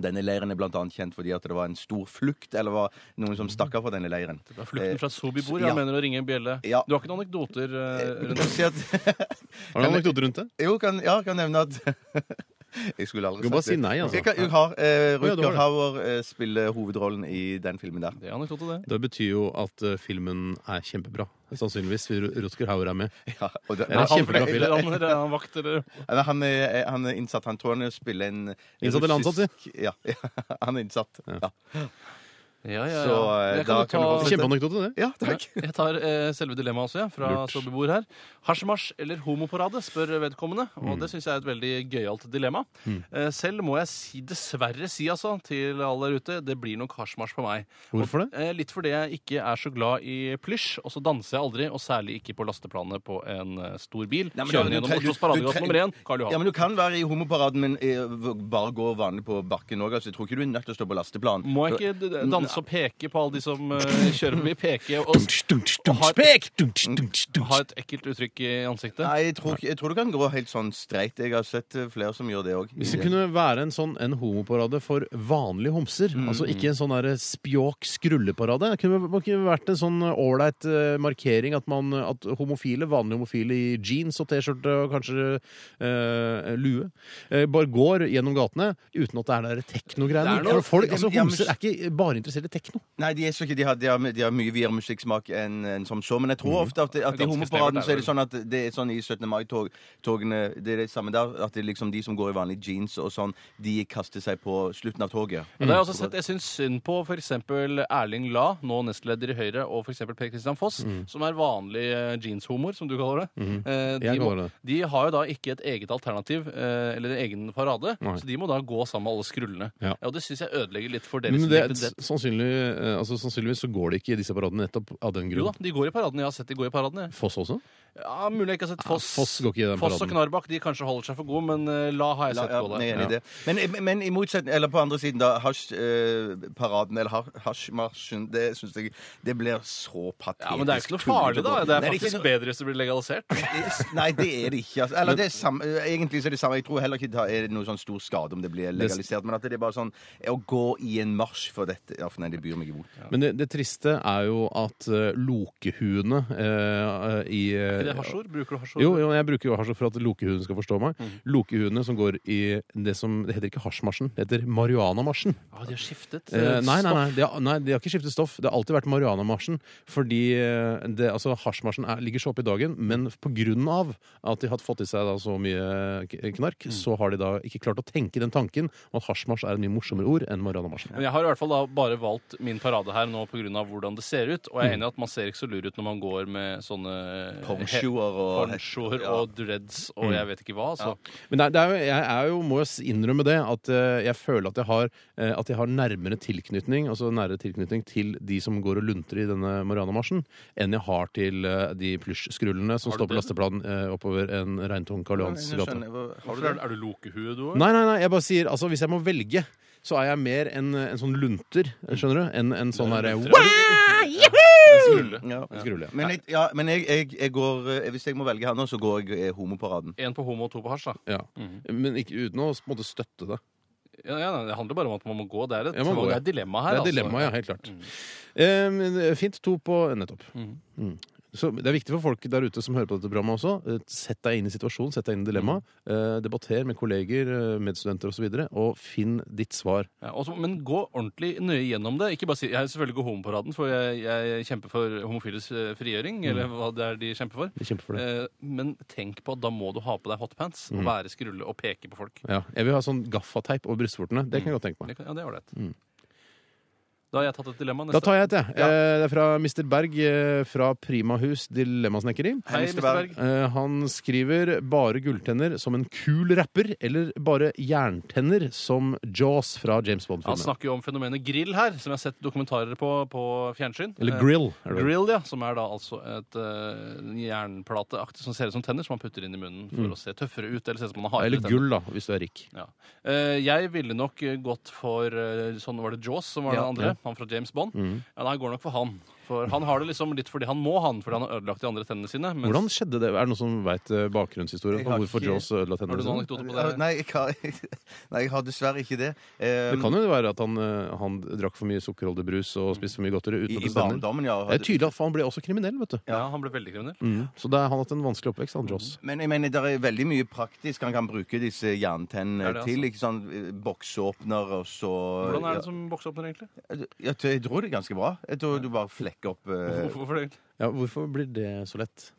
J: Denne leiren er blant annet kjent fordi at det var en stor flukt, eller var noen som stakk av fra denne leiren. Eh,
H: Det var Flukten
J: [LAUGHS]
H: fra Sobibor,
J: ja.
H: jeg mener å ringe en bjelle.
J: Ja.
H: Du har ikke noen anekdoter eh,
J: [LAUGHS]
H: rundt det?
J: Si at-
G: Har du noen anekdote rundt det?
J: Jo, kan, ja, kan nevne at [LAUGHS] Jeg skulle aldri
G: Du kan bare si nei, altså.
J: Jeg, kan, jeg har eh,
G: Å, ja, du har
J: Rutger
G: det.
J: Hauer eh, spiller hovedrollen i den filmen der. [LAUGHS]
H: Det er anekdote, det.
G: Det betyr jo at eh, filmen er kjempebra. Sannsynligvis. Rutger Hauer er med.
J: Ja, og det,
G: Ja, det er
H: Han
G: kjempebra film.
H: eller han, eller han vakt, eller
J: Nei, han, er, han er innsatt. Han tror han spiller en
G: Innsatt eller
J: russisk-
G: ansatt,
J: Ja, [LAUGHS] ja, han er innsatt. Ja,
H: Ja, ja, ja.
J: Så eh,
H: Jeg kan
J: da
H: jo
J: kan du
H: ta-
J: fortsette.
G: Kjempeanekdote, det.
J: Ja, takk.
H: [LAUGHS] Jeg tar eh, selve dilemmaet også, ja, fra
G: Lurt.
H: Sobibor her. Hasjmarsj eller homoparade, spør vedkommende. Og
J: Mm.
H: det syns jeg er et veldig gøyalt dilemma. Eh, selv må jeg si, dessverre si altså, til alle der ute, det blir nok hasjmarsj på meg.
G: Hvorfor
H: Og, eh, litt fordi jeg ikke er så glad i plysj, og så danser jeg aldri, og særlig ikke på lasteplanet på en eh, stor bil.
J: Nei, men da-
H: Kjørende
J: du
H: gjennom
J: tre-
H: Oslos
J: du- du tre-
H: paradegate nummer én, Karl
J: Ja,
H: Johan.
J: men Du kan være i homoparaden, men eh, v- bare gå vanlig på bakken òg. Altså, jeg tror ikke du er nødt til å stå på lasteplan.
H: Må jeg ikke d-
J: Mm.
H: danse og peke på alle de som eh, kjører forbi? Peke og s- har- ha et ekkelt uttrykk i ansiktet?
J: Nei, jeg tror, ikke- jeg tror du kan gå helt sånn streit. Jeg har sett eh, flere som gjør det òg.
G: Hvis det kunne være en sånn en homoparade for vanlige homser,
J: Mm.
G: altså ikke en sånn der spjåk skrulleparade Det kunne, det kunne vært en sånn ålreit eh, markering at, man, at homofile, vanlige homofile i jeans og T-skjorte og kanskje eh, lue, eh, bare går gjennom gatene uten at det er der teknogreiene.
J: Det er noe-
G: For Folk, altså,
J: Ja, men-
G: homser er ikke bare interessert i tekno.
J: Nei, de er så ikke, de har, de har, de har mye videre musikksmak enn enn som så, men jeg
G: Mhm.
J: tror ofte at, at i
H: Ganske
J: homoparaden
H: snevert,
J: så er det
H: er
J: sånn at det er sånn i 17. mai-togene Det er det samme der, at det er liksom de som går i vanlige jeans og sånn, de kaster seg på slutten av toget.
H: Og det har jeg
G: Mm.
H: også sett, jeg syns synd på f.eks. Erling La, nå nestleder i Høyre, og f.eks. Per Christian Foss, som er vanlig eh, jeanshomoer, som du kaller det. Eh, de,
G: Mm. Jeg
H: må,
G: kaller det.
H: de har jo da ikke et eget alternativ, eh, eller en egen parade,
G: Nei.
H: så de må da gå sammen med alle skrullene.
G: Ja.
H: og det syns jeg ødelegger litt for
J: liksom
H: deres
G: Men det,
H: identitet.
G: sannsynlig, eh, altså, sannsynligvis så går det ikke i disse paradene nettopp av den
H: Jo da,
G: grunn.
H: de går i paradene. Jeg har sett de går i paradene. jeg.
G: Foss også?
H: Ja, Mulig jeg ikke har sett Foss.
G: Foss går ikke i den
H: Foss og
G: paraden.
H: Knarbakk de kanskje holder seg for gode, men eh, La har jeg
J: La,
H: sett
J: ja,
H: gå
J: jeg er
H: der.
J: enig i det. Men, men i motsetning, eller på andre siden, da, hasjparaden eller har- hasjmarsjen, det syns jeg Det blir så patetisk.
H: Ja, Men det er ikke noe
J: tullete
H: farlig, da.
J: å gå.
H: Det er
J: Nei,
H: faktisk
J: ikke noe-
H: bedre hvis det blir legalisert.
J: Nei, det er det ikke. Altså. Eller det er samme, egentlig så er det samme. Jeg tror heller ikke det er noe sånn stor skade om det blir legalisert. Men at det er bare sånn Å gå i en marsj for dette ja, for Nei, det byr meg imot.
G: Men det, det triste er jo at eh, lokehuene eh, i
H: Er det
G: eh,
H: hasjord? Bruker du Mhm. hasjord?
G: jo, jo, jeg bruker jo hasj for at lokehuene skal forstå meg. Lokehuene som går i det som Det heter ikke hasjmarsjen, det heter marihuanamarsjen.
H: Ja, Ah, de har skiftet.
G: Eh,
H: eh,
G: nei, nei, nei, de har, nei, de har ikke skiftet stoff. Det har alltid vært marihuanamarsjen. Fordi eh, det, altså, hasjmarsjen er, ligger så oppe i dagen, men på grunn av at de har fått i seg da, så mye k- knark,
H: Mm.
G: så har de da ikke klart å tenke den tanken om at hasjmarsj er et mye morsommere ord enn marihuanamarsjen.
H: Men jeg har i hvert fall da bare valgt min parade her nå pga. hvordan det ser ut. Og jeg er enig i at man ser ikke så lur ut når man går med sånne eh,
J: Ponchoer og
H: ponchoer og dreads og jeg vet ikke hva. Så.
G: Men det er, det er jo, jeg er jo, må jo s- innrømme det, at eh, jeg føler at jeg har, eh, at jeg har nærmere tilknytning altså nærere tilknytning til de som går og lunter i denne Marianamarsjen, enn jeg har til eh, de plysjskrullene som står på lasteplanen eh, oppover en regntung Karl Johans
J: Jeg
G: gate.
J: skjønner, hva- har du
H: Hvorfor
J: det?
H: er, er du lokehue, du òg?
G: Nei, nei, nei, jeg bare sier, altså hvis jeg må velge, så er jeg mer en, en sånn lunter, skjønner du, enn en sånn herre
J: Ja.
G: skrulle.
J: Men, jeg, ja, men jeg, jeg, jeg går, eh, hvis jeg må velge her nå, så går jeg eh, homoparaden.
H: Én på homo og to på hasj, da.
G: Ja. Men ikke, uten å på en måte støtte det.
H: Ja, ja, nei, det handler bare om at man må gå. Det er et,
G: Ja, man må
H: det
G: gå, ja.
H: er et dilemma her. altså.
G: Det er dilemma, ja, helt klart. Eh, fint. To på nettopp. Mm. Så det er viktig for folk der ute som hører på dette programmet også. eh, Sett deg inn i situasjonen, sett deg inn i dilemmaet.
H: Mm.
G: eh, Debatter med kolleger, eh, medstudenter osv., og, så videre, og finn ditt svar.
H: Ja, også, men gå ordentlig nøye gjennom det. Ikke bare si, Jeg selvfølgelig går homoparaden, for jeg, jeg kjemper for homofiles eh, frigjøring. Eller hva det er de kjemper for.
G: Vi kjemper for det.
H: Eh, men tenk på at da må du ha på deg hotpants og være skrulle og peke på folk.
G: Ja, jeg vil ha sånn gaffateip over brystvortene. Det kan jeg godt tenke meg.
H: Det, kan- ja, det er ålreit. Da har jeg tatt et dilemma.
G: Mm. Da tar jeg et, jeg. Eh, Det er fra Mr. Berg eh, fra Primahus Dilemmasnekkeri.
H: Hei, Mr. Berg.
G: Eh, Han skriver 'bare gulltenner som en kul rapper', eller 'bare jerntenner som Jaws' fra James
H: Han
G: Bond-filmen.
H: snakker jo om fenomenet grill her, som jeg har sett dokumentarer på på fjernsyn.
G: Eller
H: Eh,
G: grill. Er det vel?
H: Grill, ja, som er da altså et uh, jernplateaktig som ser ut som tenner, som man putter inn i munnen for å se tøffere ut. Eller se ut som man har hardere
G: Mm. Eller gull, da, hvis du er rik.
H: Ja. Eh, jeg ville nok eh, gått for eh, sånn var det Jaws som var den andre. Han fra James Bond.
G: Mm.
H: Ja, nei, jeg går nok for han. For han har det liksom litt fordi han må, han. Fordi han har ødelagt de andre tennene sine. mens-
G: Hvordan skjedde det? Er det noen som veit bakgrunnshistorien
J: Jeg
G: på
J: har
G: hvorfor
J: ikke-
G: Jaws
H: Har
G: ødela tennene
H: du noen
G: sine?
H: anekdote på det?
J: Eh, Nei, jeg har, [LAUGHS] nei, jeg har dessverre ikke det. Eh,
G: Det kan jo være at han, eh, han drakk for mye sukkerholdig brus og spiste for mye godteri
J: i,
G: uten å
J: I
G: bestemme.
J: barndommen, ja.
G: Det er tydelig at han ble også kriminell, vet du.
H: Ja, han ble veldig kriminell.
J: Mm.
G: Så det er, han har hatt en vanskelig oppvekst, han Jaws.
J: Men jeg mener, det er veldig mye praktisk han kan bruke disse jerntennene
H: Er det
J: til. Ikke sånn eh, Boksåpner og så
H: Hvordan er det som bokser opp når, egentlig?
J: ja, jeg, jeg tror det er ganske bra. Jeg tror du bare flekker opp eh,
H: Hvorfor, hvorfor det? egentlig?
G: Ja, hvorfor blir det så lett?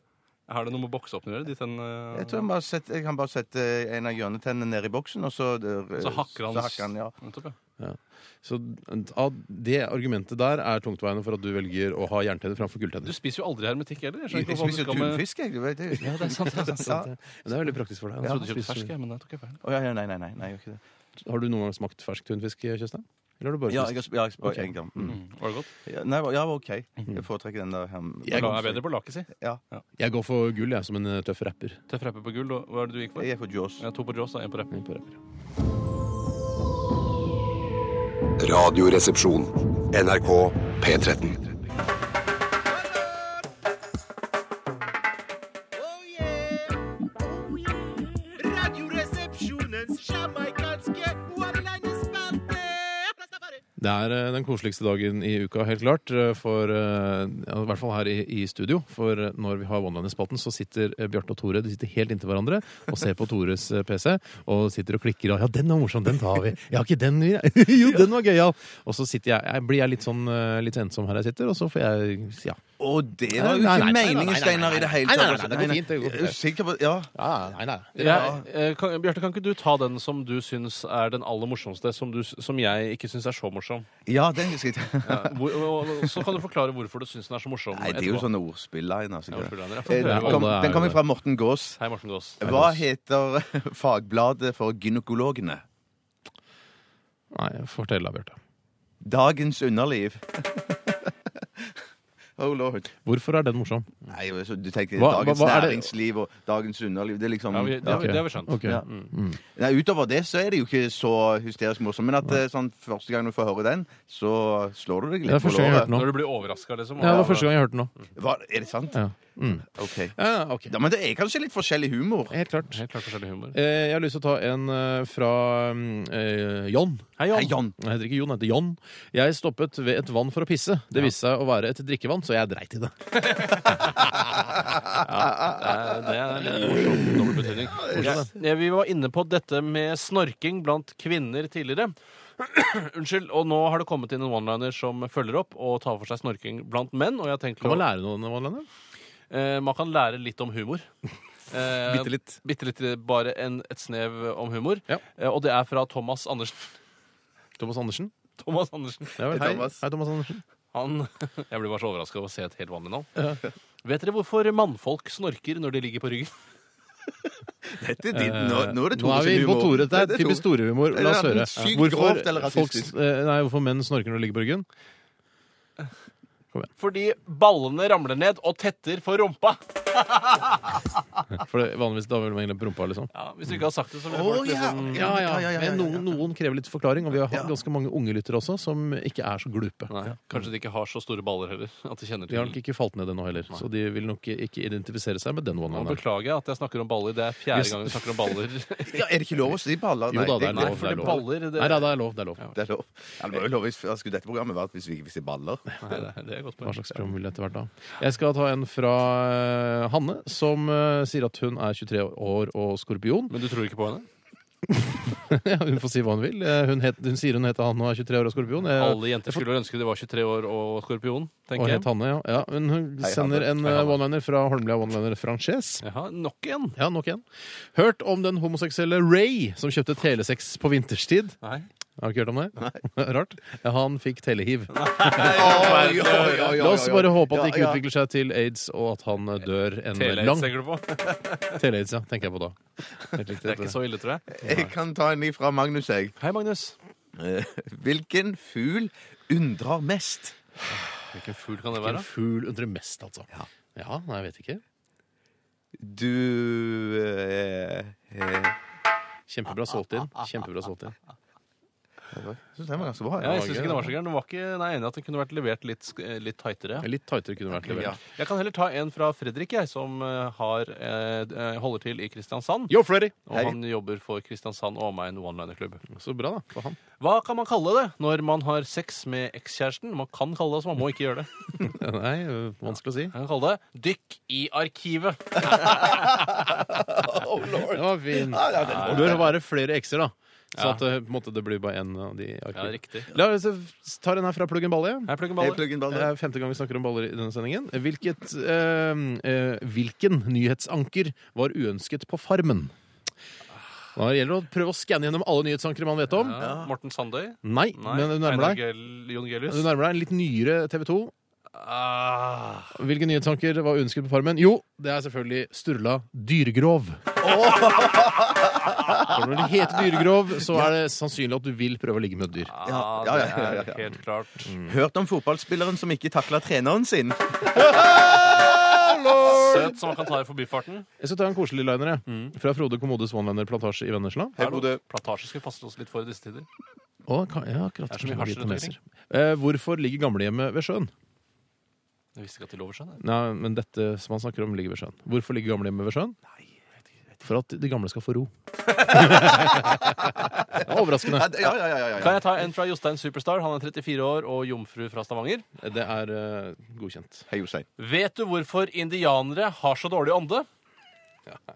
H: Har det noe med å bokse opp å gjøre? eh, De tennene-
J: Jeg tror jeg, bare setter, jeg kan bare sette eh, en av hjørnetennene ned i boksen, og så eh,
H: Så hakker han
J: Så hakker han, ja.
H: Nettopp, ja.
G: Så av det argumentet der er tungtveiende for at du velger å ha jerntenner framfor
H: Du
G: gulltenner.
H: spiser jo aldri hermetikk heller. Jeg skjønner
J: Jeg
H: ikke hva du
J: spiser jo
H: skal med-
J: tunfisk, jeg. Du vet det.
H: Ja, det er sant. Det er sant.
G: Ja, Det er veldig praktisk for deg.
H: Jeg
G: Han
H: trodde du
G: spiser-
H: kjøpte fersk, jeg, men det tok jeg feil.
J: Å, ja, ja, nei, nei, nei, nei, jeg gjør ikke det.
G: Har du noen gang smakt fersk tunfisk, Kjøstheim? Eller har du bare
J: Ja,
G: spist?
J: jeg har sp- ja, jeg sp- en gang. Mm.
H: Var det godt?
J: Ja, Nei, ja, OK. Jeg foretrekker den der. hem-
G: Jeg-
H: La meg bedre på laket, si.
J: Ja.
G: Jeg går for gull, jeg, som en eh, tøff rapper.
H: Tøff rapper på gull. og Hva er det du gikk for?
J: Jeg er for Jaws.
H: Ja, to på Jaws og én på rapp.
G: Jeg er på rapper.
A: Radioresepsjon. NRK P13.
G: Det er eh, den koseligste dagen i uka, helt klart. eh, For, eh, ja, I hvert fall her i, i studio. For eh, når vi har OneLiner-spalten, så sitter eh, Bjarte og Tore de sitter helt inntil hverandre og ser på Tores eh, PC. Og sitter og klikker. Og, ja, den var morsom, den tar vi. Ja, [LAUGHS] ikke den vi Jo, den var gøyal! Og så sitter jeg, jeg blir jeg litt sånn eh, litt ensom her jeg sitter, og så får jeg ja.
J: Og det var
G: Nei, nei,
J: jo ikke
G: nei, nei,
J: meningen,
G: nei,
J: Steinar,
G: nei,
J: i det hele
G: nei, nei, nei,
J: tatt.
G: nei, det går fint, det går fint.
J: Er du sikker på Ja.
G: ja Nei, nei.
H: Jeg- eh, kan- Bjarte, kan ikke du ta den som du syns er den aller morsomste, som, du, som jeg ikke syns er så morsom?
J: Ja, den husker jeg.
H: [LAUGHS] Hvor, og, og, så kan du forklare hvorfor du syns den er så morsom.
J: Nei, det er jo sånn- sånne ordspill-liner.
H: Ja, ordspill-liner, ja.
J: Den
H: Alle
J: Eh,
G: er
J: kom- den
G: jo
J: kommer
G: det.
J: fra Morten Gaas.
H: Hei, Morten Gaas.
J: Hva heter [LAUGHS] fagbladet for gynekologene?
G: nei fortell da, Bjarte.
J: Dagens underliv. [LAUGHS] Oh lord.
G: Hvorfor er den morsom?
J: Nei, altså, du tenker
G: Hva-
J: dagens
G: hva- hva er det-
J: næringsliv og dagens underliv. Det er liksom
H: Ja, vi, det, har vi- det har vi skjønt.
G: Ok.
J: Ja. Nei, Utover det så er det jo ikke så hysterisk morsomt. Men at eh, sånn, første gang du får høre den, så slår du deg
G: Det er
J: litt på
G: første gang jeg har hørt
J: låret.
G: den nå.
H: Når du blir overraska, liksom.
G: Ja, det var første gang jeg hørte den nå.
J: Hva, er det sant?
G: Ja. Mm.
J: OK.
G: Ja, ok.
J: Ja, men det er kanskje litt forskjellig humor.
G: Helt klart.
H: Helt klart forskjellig humor.
G: Eh, Jeg har lyst til å ta en eh, fra eh, John. Hei,
J: Jon. Hei, Jon.
G: Jeg heter ikke Jon, jeg heter John. Jeg stoppet ved et vann for å pisse. Det viste seg å være et drikkevann, så jeg dreit i det.
J: [LAUGHS]
H: Ja, Eh, det er litt morsom dobbeltbetydning. Ja, vi var inne på dette med snorking blant kvinner tidligere. [CLEARS THROAT] Unnskyld. Og nå har det kommet inn en one-liner som følger opp og tar for seg snorking blant menn. Og jeg har tenkt
G: Kan
H: å-
G: man lære noe av det?
H: Eh, man kan lære litt om
G: [LAUGHS]
H: humor. Eh,
G: Bitte litt.
H: bitte litt, bare en, et snev om humor.
G: Ja.
H: Eh, og det er fra Thomas Andersen. [LAUGHS]
G: Thomas Andersen?
H: Thomas Andersen.
G: Ja, vel,
J: Hei,
G: hei.
J: Thomas.
G: hei, Thomas Andersen.
H: Han, [LAUGHS] jeg blir bare så overraska over å se et helt vanlig navn. Vet dere hvorfor mannfolk snorker når de ligger på ryggen? [LAUGHS]
J: Dette er din, nå, nå er
G: Eh,
J: det
G: Nå
J: Tore
G: er vi
J: sin
G: inne på
J: humor.
G: Tore. Det
J: Dette
G: er typisk
J: Tore.
G: Tore-humor. La oss
J: Det er
G: høre.
J: sykt grovt eller
G: Hvorfor, folk,
J: rasistisk.
G: eh, nei, hvorfor menn snorker når de ligger på ryggen?
H: Fordi ballene ramler ned og tetter for rumpa.
G: For det, vanligvis da vil man egentlig prompe, liksom.
H: Ja, hvis du ikke har sagt det, så ville folk liksom
G: Ja, ja, Men noen, noen krever litt forklaring, og vi har hatt ganske mange unge lyttere også som ikke er så glupe.
H: Nei, Kanskje de ikke har så store baller heller. At de kjenner
G: De har nok
H: til
G: ikke falt ned ennå heller, så de vil nok ikke identifisere seg med den
H: Nå
G: one-lineren.
H: beklager jeg at jeg snakker om baller. Det er fjerde gang vi snakker om baller.
D: Ja, er det ikke lov å si baller?
G: Jo da, det er
H: Nei,
G: lov.
H: for
G: Det er
H: det
G: lov.
H: baller, det-
G: Nei da, det er lov. Det er lov.
D: Det er lov. Ja, det var jo lov hvis hva
J: altså,
D: skulle dette programmet vært hvis vi ikke fikk si baller.
H: Nei, det er- det er godt
G: Hva
H: poeng.
G: slags program vil det etter hvert da? Jeg skal ta en fra eh, Hanne, som eh, sier at hun er 23 år og skorpion. [LAUGHS]
H: Men du tror ikke på henne?
G: Ja, hun får si hva hun vil. Eh, Hun, het, hun sier hun heter Hanne og er 23 år og skorpion. Jeg,
H: Alle jenter skulle ønske de var 23 år og skorpion,
G: og
H: tenker jeg.
G: het Hanne, ja. ja men hun
D: Hei,
G: sender en
H: Hei,
G: eh,
H: Hanne.
G: one-liner fra Holmlia One-liner Frances.
H: Jaha, nok en.
G: Ja, nok en. Hørt om den homoseksuelle Ray som kjøpte telesex på vinterstid.
H: Nei.
G: Har du ikke hørt om det? [LAUGHS] Rart. Ja, han fikk telehiv.
D: Oi, oi, oi, oi, oi.
G: La oss bare håpe at det
D: Ja,
G: ikke
D: ja.
G: utvikler seg til aids, og at han eh, dør en
H: Tele,
G: lang
H: tenker du på? Det
G: Tele-aids, ja, tenker jeg på da.
H: [LAUGHS]
G: Helt riktig.
H: er ikke så ille, tror jeg.
D: Jeg kan ta en ny fra Magnus, jeg.
H: Hei, Magnus.
D: Eh, Hvilken fugl undrer mest?
H: Hvilken fugl kan det
G: En
H: være?
G: fugl undrer mest, altså. Ja. nei, jeg vet ikke.
D: Du eh, eh,
G: Kjempebra solgt inn. Kjempebra solgt
D: [LAUGHS]
G: inn.
D: Jeg syns den var ganske bra.
H: Ja, jeg syns ikke den var så gæren. Den var ikke, nei, jeg er enig i at den kunne vært levert litt, sk- eh, litt tightere.
G: Litt tightere kunne vært
H: Ja.
G: levert.
H: Jeg kan heller ta en fra Fredrik, jeg, som eh, har, eh, eh, holder til i Kristiansand.
G: Yo, Freddy!
H: Og han jobber for Kristiansand og omegn one-liner-klubb.
G: Så bra, da. For han. [LAUGHS]
H: Hva kan man kalle det når man har sex med ekskjæresten? Man kan kalle det så man må ikke gjøre det.
G: Nei, øh, vanskelig å si.
H: Man kan kalle det 'dykk i arkivet'.
G: Den var fin. Det bør være flere ekser, da. Så at øh, på en måte, det blir bare én av de
H: Ja,
G: arkivene.
H: riktig.
G: La oss øh, ta den her fra Pluggen Balle.
H: Her plugger
D: Hei,
H: baller.
D: pluggen
G: Det
D: baller.
G: er femte gang vi snakker om baller i denne sendingen. Hvilket, øh, øh, hvilken nyhetsanker var uønsket på Farmen? Da gjelder det å prøve å skanne gjennom alle nyhetsankere man vet om.
H: Ja. Morten Sandøy.
G: Nei, men du nærmer
H: Einar
G: deg.
H: Gel- Jon Gelius.
G: Du nærmer deg en litt nyere TV 2.
H: Ah,
G: Hvilke nyhetstanker var uønsket på Farmen? Jo, det er selvfølgelig Sturla Dyregrov. For når det heter Dyregrov, så er det sannsynlig at du vil prøve å ligge med et dyr.
H: ah,
D: ja, ja, ja, ja, ja.
H: det er helt klart.
D: Hørt om fotballspilleren som ikke takla treneren sin?
H: Søt som man kan ta i forbifarten.
G: Jeg skal ta en koselig liner jeg. fra Frode Kommodes One-Liner Plantasje i Vennesla.
D: Hei, Frode.
H: Plantasje skal vi passe oss litt for i disse tider.
G: Og, ka- ja, akkurat,
H: Det er så mye hasj rundt omkring.
G: Eh, hvorfor ligger gamlehjemmet ved sjøen?
H: Jeg visste ikke at de lover sånn. jeg.
G: Nei, men dette som han snakker om, ligger ved sjøen. Hvorfor ligger gamlehjemmet ved sjøen? For at de gamle skal få
H: [LAUGHS]
G: ro. det var overraskende.
D: Ja, det- ja, ja, ja, ja, ja.
H: Kan jeg ta en fra Jostein Superstar? Han er 34 år og jomfru fra Stavanger.
G: Det er eh, godkjent.
D: Hei, Jostein.
H: Vet du hvorfor indianere har så dårlig ånde?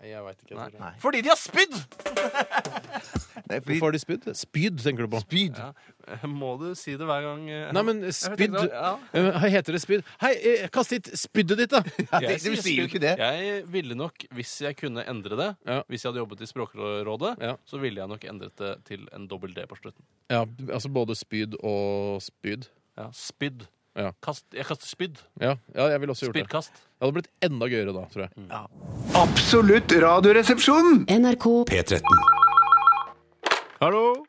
G: Jeg veit ikke.
H: Fordi de har spydd!
D: Nei, fordi-
G: Hvorfor har de spydd? Spyd, tenker du på. Spyd.
H: Må du si det hver gang? eh,
G: Nei, men
H: Jeg
G: spydd
H: tenkte det var-
G: Eh, Heter det spyd? Hei, eh, kast hit spyddet ditt,
H: [LAUGHS]
G: da!
D: det- du sier jo ikke det.
H: Jeg ville nok, hvis jeg kunne endre det,
G: Ja.
H: hvis jeg hadde jobbet i Språkrådet,
G: Ja.
H: så ville jeg nok endret det til en dobbel D på slutten.
G: Ja, altså både spyd og spyd.
H: Ja, Spydd.
G: Ja.
H: Kast, jeg kaster spydd.
G: Ja, ja jeg ville også gjort det.
H: Spyddkast.
G: Det hadde blitt enda gøyere da, tror jeg.
I: Absolutt radioresepsjon!
E: NRK
A: P13.
H: Hallo?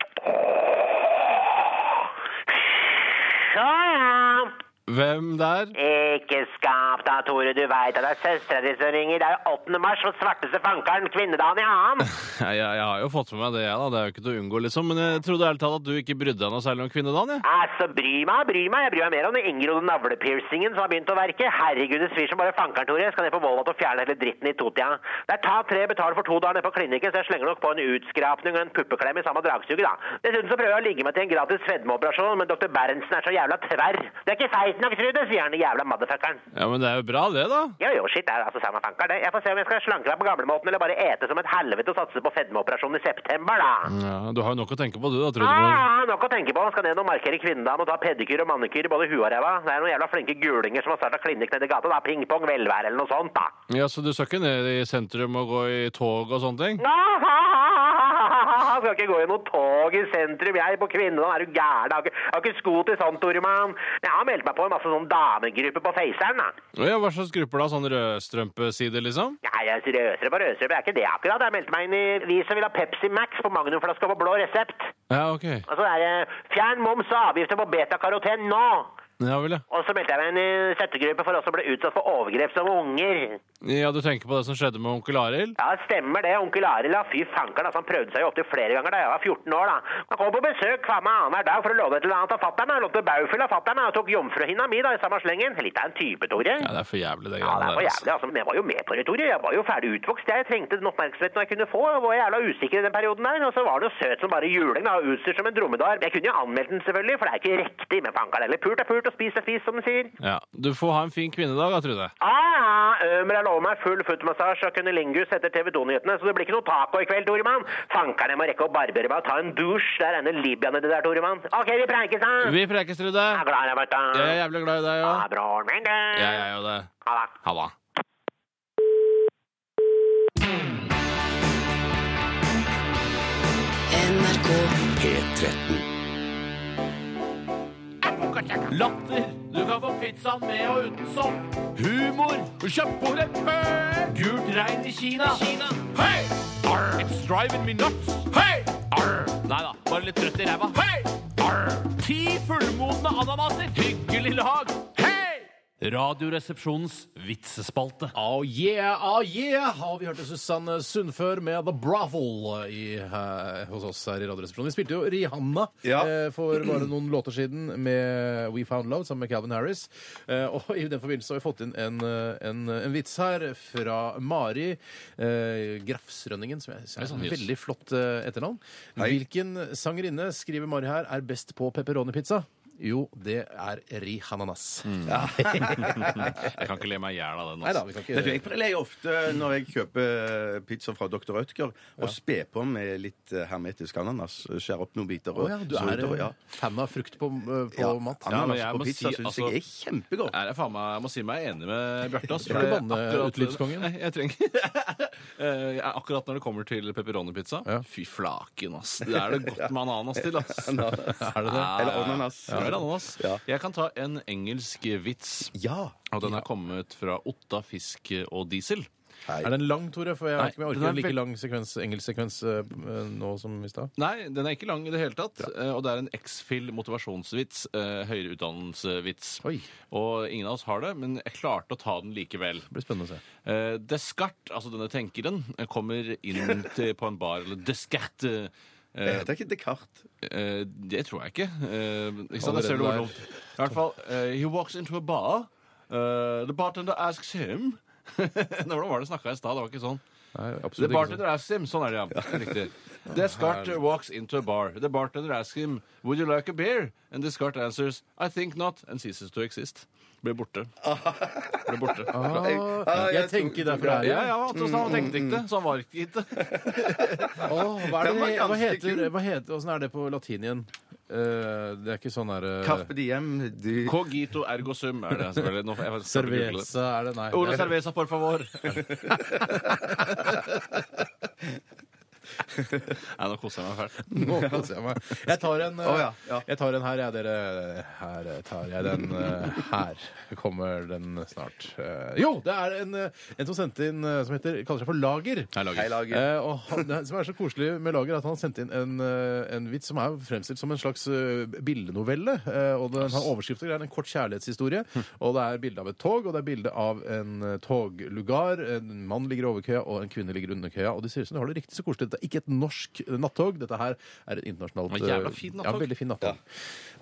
H: Hvem der?
B: Ikke skap da, Tore. Du veit at det er søstera di som ringer. Det er jo 8. mars og svarteste fankeren. Kvinnedagen i annen.
H: Jeg, jeg, jeg har jo fått med meg det, jeg, da. Det er jo ikke til å unngå, liksom. Men jeg trodde ærlig talt at du ikke brydde deg noe særlig om kvinnedagen, jeg.
B: Altså, bry meg, bry meg. Jeg bryr meg mer om den inngrodde navlepiercingen som har begynt å verke. Herregud, det svir som bare fankeren, Tore. Jeg skal ned på Volvat og fjerne hele dritten i totida. Det er ta tre, betal for to dager nede på klinikken, så jeg slenger nok på en utskrapning og en puppeklem i samme dragsuget, da. Dessuten så prøver jeg å ligge meg til en gratis fedmeoperasjon, men dr. Berntsen er så jævla tverr. Du er ikke feit nok, Trude, sier han den jævla motherfuckeren.
H: Ja, men det er jo bra, det, da.
B: Jo, jo, shit, det er altså samme fanker, det. Jeg får se om jeg skal slanke meg på gamlemåten eller bare ete som et helvete og satse på fedmeoperasjon i september, da.
H: Ja, du har jo nok å tenke på, du, da, Trudeborg.
B: Ah, nok å tenke på. Skal ned og markere kvinnedagen og ta pedikyr og manikyr i både huet og ræva. Det er noen jævla flinke gulinger som har starta klinikk nedi gata. da. Pingpong, velvære eller noe sånt, da.
H: Ja, så du skal ikke ned i sentrum og gå i tog og sånne ting?
B: Jeg skal ikke gå i noe tog i sentrum, jeg, på kvinnedagen. Er du gæren? Jeg har ikke- jeg har ikke sko til sånt, Tore, mann. Men Jeg har meldt meg på en masse sånn damegrupper på Faceren, da.
H: Ja, hva slags grupper da? Sånn rødstrømpeside, liksom?
B: Nei, jeg sier Røsere på Røsere, men det er ikke det akkurat. Jeg meldte meg inn i Vi som vil ha Pepsi Max på magnumflaska på blå resept.
H: Ja, ok.
B: Og så er det eh, fjern moms og avgifter på betakaroten nå!
H: Ja vel, ja.
B: Og så meldte jeg meg inn i støttegruppe for oss som ble utsatt for overgrep som unger.
H: Ja, Du tenker på det som skjedde med onkel Arild?
B: Ja, det stemmer det. Onkel Arild, ja, fy fanker, altså, han prøvde seg jo opptil flere ganger da jeg var 14 år. da. Han kom på besøk hver med annenhver dag for å låne et eller annet av fatter'n. Han lånte baufyll av fatter'n og tok jomfruhinna mi da, i samme slengen. Litt av en type, Tore.
H: Ja, det er for jævlig, det
B: Ja,
H: greiene der.
B: det er for jævlig,
H: Altså.
B: altså. Men jeg var jo med på det, Tore. Jeg var jo ferdig utvokst. Jeg trengte den oppmerksomheten jeg kunne få. Jeg var jævla usikker i den perioden der. Og så var det jo søt som bare juling, da. og Utstyrt som en dromedar. Jeg kunne jo anmeldt den, selvfølgelig, for det er ikke riktig. Men fanker det. Eller pult er pult, og spist er spist, som den sier.
H: Ja. Du får ha en fin kvinnedag, da, Trude.
B: Ah, Ømer har lovet meg full footmassasje og kunnilingus etter TV 2-nyhetene, så det blir ikke noe taco i kveld, Toremann. Fankerne må rekke å barbere meg og ta en dusj. Det er ene Libya nedi der, Toremann. OK, vi preikes, da.
H: Vi prekes, Trude.
B: Jeg er glad i deg, Martha.
H: Jeg er jævlig glad i deg
B: Ha
H: òg.
B: det, broren min.
H: Jeg er jo det.
B: Ha det.
H: Ha det.
E: NRK
A: P13.
H: Latter. Du kan få pizzaen med og uten sopp. Humor. Kjøpt på rett før. Gult regn i Kina. Hei! Arr. It's driving me nuts. Hei! Arr. Nei da, bare litt trøtt i ræva. Hei! Arr. Ti fullmodne ananaser. Hyggelig lag. Hei! Radioresepsjonens vitsespalte. Oh yeah, oh yeah! Har vi hørt det Susanne Sundfør med The Brothel i, eh, hos oss her i Radioresepsjonen. Vi spilte jo Rihanna
J: Ja.
G: eh, for bare noen låter siden med We Found Love sammen med Calvin Harris. Eh, og i den forbindelse har vi fått inn en, eh, en, en vits her fra Mari eh, Grafsrønningen, som jeg synes er et veldig flott eh, etternavn. Hvilken sangerinne, skriver Mari her, er best på pepperoni-pizza? Jo, det er Rihananas.
H: Jeg kan ikke le meg i hjel av altså. den.
G: Nei da, vi kan
J: Vet du,
G: ikke
J: jeg pleier ofte når jeg kjøper pizza fra Dr. Rødtger, å spe på med litt eh, hermetisk ananas. Skjære opp noen biter.
G: Å
J: og
G: ja, du
J: så
G: er
J: utover, ja.
G: eh, fan av frukt på, eh, på
J: Ja,
G: mat?
H: Ja, men
J: Ananas
H: jeg må
J: på pizza
H: si,
J: syns
H: altså-
J: jeg er kjempegodt.
H: Er jeg, faen meg, jeg må si meg enig med Bjarte. ass,
G: Skal
H: for
G: du
H: det-
G: banne
H: akkurat-
G: utelivskongen?
H: Nei, Jeg trenger [LAUGHS] Eh, jeg- Akkurat når det kommer til pepperoni-pizza
G: Ja.
H: Fy flaken, ass! Det er det godt med ananas til, ass. Ah.
G: Er det det?
J: Eller ananas.
H: Ja, eller ananas.
J: Ja.
H: Jeg kan ta en engelsk vits,
J: Ja.
H: og den er kommet fra Otta, Fisk og Diesel.
G: Er den lang, Tore? For jeg,
H: Nei,
G: vet ikke om
H: den
G: jeg orker
H: er
G: en like
H: veld-
G: lang sekvens, engelsk sekvens eh, nå som i stad.
H: Nei, den er ikke lang i det hele tatt. eh, Og det er en X-Fill motivasjonsvits. eh, Høyere utdannelsevits.
G: Oi.
H: Og ingen av oss har det, men jeg klarte å ta den likevel.
G: Det blir spennende å se.
H: Eh, Descartes, altså denne tenkeren, eh, kommer
J: [LAUGHS]
H: inn til, på en bar eller Descartes.
J: Det
H: eh,
J: heter ikke Descartes.
H: eh, det tror jeg ikke. Eh, ikke sant?
G: Allerede
H: Jeg ser det var
G: der.
H: dumt. I hvert fall, eh, he walks into a bar. Eh, the bartender asks him [LAUGHS] Nå, Hvordan var det snakka i stad? Det var ikke sånn.
G: Nei,
H: The
G: absolutt ikke sånn.
H: bartender asks him. Sånn er det, ja. Riktig. Descartes walks into a bar. The bartender asks him, would you like a beer? And Descartes answers, I think not, and ceases to exist. Blir borte. Blir borte.
G: Ah, jeg tenker derfor det er
H: Ja, ja, at han var tenkdikte, så han var ikke gitt det.
G: Åh, hva, er
J: Den
G: det,
J: var
G: hva
J: ganske
G: heter
J: kul.
G: Hva heter, Åssen er det på latin igjen? Eh, det er ikke sånn derre
J: Carpe diem. De...
H: Cogito ergo sum er det selvfølgelig. Nå, jeg, jeg,
G: Cerveza er det, nei.
H: Ole [LAUGHS]
G: [LAUGHS] det er-
H: Cerveza, por favor. Nei, nå koser jeg meg fælt.
G: Nå [LAUGHS] koser jeg meg. Jeg tar en, eh,
J: Å, ja, ja.
G: Jeg tar en her, jeg, dere. Her eh, tar jeg den. eh, Her kommer den snart. Eh, Jo, det er en, eh, en som sendte inn eh, som heter, kaller seg for Lager.
J: Hei, lager.
G: Eh, og han, det som er så koselig med Lager, er at han har sendt inn en, eh, en vits som er fremstilt som en slags eh, bildenovelle. eh, og Den har overskrift og greier. En kort kjærlighetshistorie.
J: Hm.
G: Og det er bilde av et tog, og det er bilde av en eh, toglugar. En mann ligger over køya, og en kvinne ligger under køya. Og det ser ut som de har det riktig så koselig. Dette er ikke et norsk eh, nattog. Dette her er et internasjonalt
H: Det var jævla
G: eh,
H: fint
G: Ja,
H: nattog.
G: veldig fint nattog.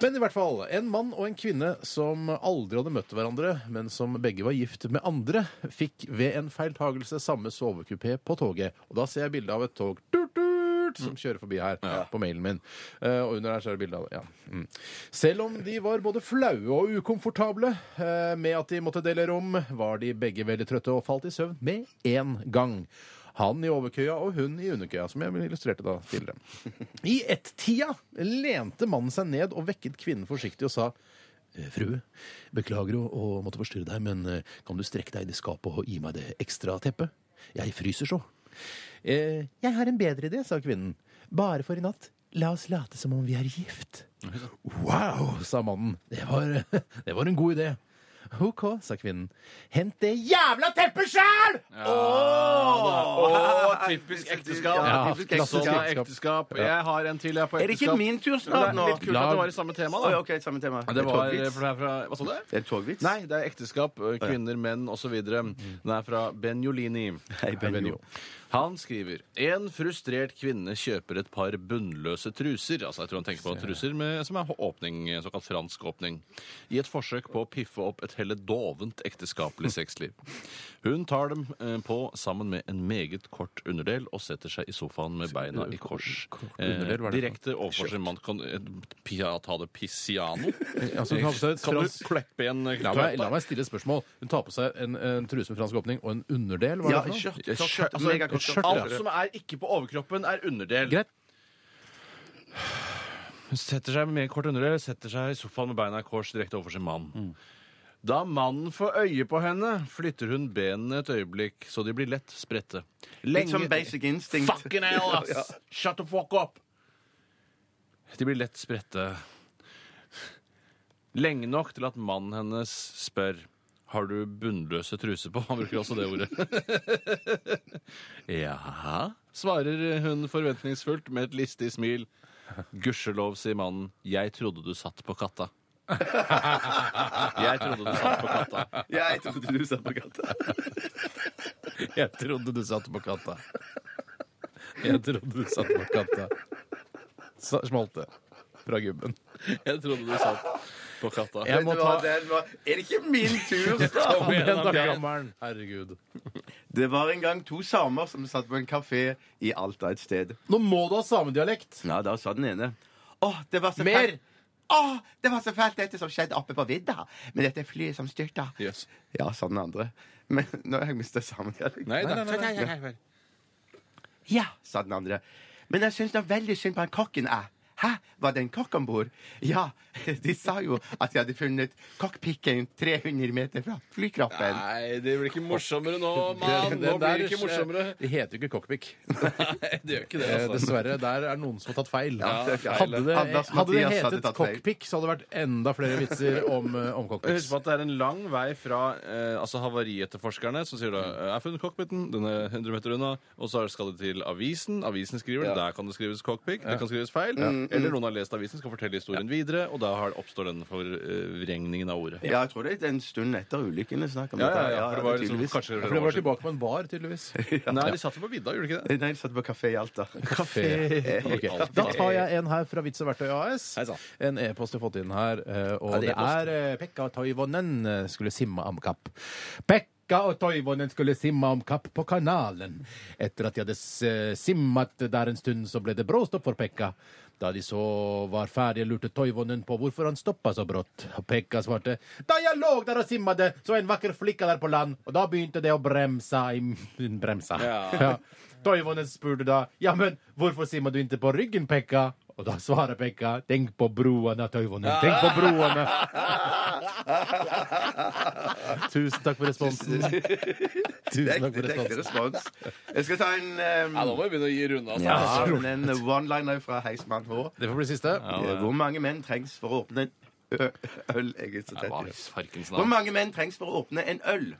G: Men i hvert fall, en mann og en kvinne som aldri hadde møtt hverandre, men som begge var gift med andre, fikk ved en feiltagelse samme sovekupé på toget. Og da ser jeg bilde av et tog tut, tut, som kjører forbi her på mailen min. Eh, og under der så er det bilde av ja. mm. Selv om de var både flaue og ukomfortable eh, med at de måtte dele rom, var de begge veldig trøtte og falt i søvn med én gang. Han i overkøya og hun i underkøya, som jeg illustrerte da tidligere. I ett-tida lente mannen seg ned og vekket kvinnen forsiktig og sa «Eh, Frue, beklager å, å måtte forstyrre deg, men eh, kan du strekke deg i det skapet og gi meg det ekstra teppet? Jeg fryser så. «Eh, jeg har en bedre idé, sa kvinnen. Bare for i natt. La oss late [LAUGHS] som om vi er gift. Wow, sa mannen. Det var, det var en god idé. OK, sa kvinnen. Hent det jævla teppet sjæl!
H: Å, typisk ekteskap!
G: Ja,
H: Typisk
G: klassisk
H: Sånn er
G: ekteskap.
H: eskap. Jeg har en til jeg er på
J: Er det ikke
H: ekteskap.
J: min tur
H: Det
J: snart
H: er
J: nå?
H: litt kult at det var i samme tema,
J: Oi,
H: da.
J: ok, samme tema.
H: Det var
J: er
H: for det er fra Hva sa du?
J: Er det togvits?
H: Nei, det er ekteskap, eh, kvinner, menn osv.
G: Mm.
H: Den er fra Benjolini. Hei, Benjo. Han skriver En frustrert kvinne kjøper et par bunnløse truser Altså jeg tror han tenker på truser med, som er åpning, såkalt fransk åpning. I et forsøk på å piffe opp et heller dovent
G: [LAUGHS]
H: ekteskapelig sexliv. Hun tar dem eh, på sammen med en meget kort underdel og setter seg i sofaen med beina i kors.
G: underdel, hva er det for noe?
H: Eh, direkte overfor sin mann. Kan, eh, pia- ta det pissiano?
G: Altså, hun har på seg et
H: kan du
G: fransk-
H: kleppe igjen eh,
G: La meg, la
H: tøypa?
G: meg stille et spørsmål. Hun tar på seg en, en truse med fransk åpning og en underdel. Var
J: Ja,
G: det for noe?
J: skjørt.
H: Et
J: Kort,
H: skjørt,
J: kort,
H: altså,
J: megakort,
G: et skjørt,
J: kort.
H: Alt som er ikke på overkroppen, er underdel.
G: Greit.
H: Hun setter seg med kort underdel, setter seg i sofaen med beina i kors direkte overfor sin mann. Da mannen får øye på henne, flytter hun benene et øyeblikk, så de blir lett spredte.
J: Litt som basic instinct.
H: Fucking hell, [LAUGHS] ass! Shut the fuck up! De blir lett spredte. Lenge nok til at mannen hennes spør Har du bunnløse truser på? Han bruker også det ordet. Jaha, svarer hun forventningsfullt med et listig smil. Gudskjelov, sier mannen. Jeg trodde du satt på katta. Jeg trodde du satt på katta.
J: Ja, jeg trodde du sa på gata.
G: Jeg trodde du satt på katta. Jeg trodde du satt på katta. Så smalt det fra gubben.
H: Jeg trodde du satt på katta.
G: Jeg må
J: Det
G: ta
J: var, den var, er det ikke min
H: [LAUGHS]
J: tur
G: Kom
J: snart?
G: igjen, da, gammelen. Herregud.
J: Det var en gang to samer som satt på en kafé i Alta et sted.
G: Nå må du ha samedialekt!
J: Ja, da sa den ene. Åh, det var så
G: Mer!
J: fælt. Åh, det var så fælt dette som skjedde oppe på vidda. Med dette flyet som styrta.
H: Yes.
J: Ja, sa den andre. Men nå har jeg mista sammenhengen.
H: Nei, nei, nei, nei.
J: Ja, sa den andre. Men jeg syns da veldig synd på han kokken er. Hæ, var det en kokk om bord? Ja, [LAUGHS] de sa jo at de hadde funnet kokkpikken 300 meter fra flykroppen.
H: Nei, det blir ikke morsommere nå, mann.
G: Den-
H: Nå
G: den
H: blir
G: der-
H: det ikke morsommere.
G: Det heter jo ikke cockpick.
H: [LAUGHS] Nei, det gjør ikke det,
G: Eh,
H: altså.
G: Dessverre. Der er noen som har tatt feil.
H: det er feil.
G: Hadde det,
J: Anders
G: hadde det
J: Mathias hadde
G: hetet
J: tatt feil.
G: cockpick, så hadde det vært enda flere vitser om, eh, om
H: Husk
G: cockpicks.
H: på at det er en lang vei fra eh, altså havarietterforskerne, som sier da
G: Mm.
H: eh, 'Jeg har funnet cockpiten, den er 100 meter unna', og så skal det til avisen. Avisen skriver det. Der kan det skrives cockpit. Det kan skrives feil.
G: Mm.
H: Eller noen har lest avisen, skal fortelle historien videre, og da har, oppstår den forvrengningen av ordet.
J: Ja, jeg tror det er en stund etter ulykken vi snakker om
H: Ja, ja,
J: dette. her.
H: ja, for det var liksom
J: tydeligvis.
H: kanskje
G: For det var tilbake på en bar,
H: [LAUGHS]
G: tydeligvis.
H: Nei, de satt jo på vidda, gjorde de ikke det?
J: Nei, de satt på kafé i Alta.
G: Kafé. Ok. Da tar jeg en her fra Vits og Verktøy AS.
H: Hei sann.
G: En e-post jeg har fått inn her, eh, og
H: Ja, det
G: det
H: er post.
G: er eh, Pekka Toivonen eh, skulle simme om kapp. Pekka og Toivonen skulle simme om kapp på kanalen. Etter at de hadde eh, simmet der en stund, så ble det bråstopp for Pekka. Da de så var ferdige, lurte Toivonen på hvorfor han stoppa så brått. Og Pekka svarte da jeg lå der og simmade, så en vakker flikka der på land, og da begynte det å bremse i [LAUGHS] Hun bremsa. [LAUGHS] Ja. Toivonen spurte da ja, men hvorfor simmer du ikke på ryggen, Pekka? Og da svarer Pekka tenk på broene, Toivonen, tenk på broene.
H: [LAUGHS]
J: [LAUGHS]
G: Tusen takk for responsen. Tusen takk for
J: Ekte ekte
G: responsen.
J: respons. Jeg skal ta en um,
H: Ja, nå må vi begynne å gi runde, altså.
J: ja, men en one-liner fra Heismann H.
G: Det får bli siste.
J: Hvor mange menn trengs for å åpne en ø- øl? Jeg er så
H: Hva
J: tett.
H: i farkens
J: Hvor
H: navn?
J: mange menn trengs for å åpne en øl?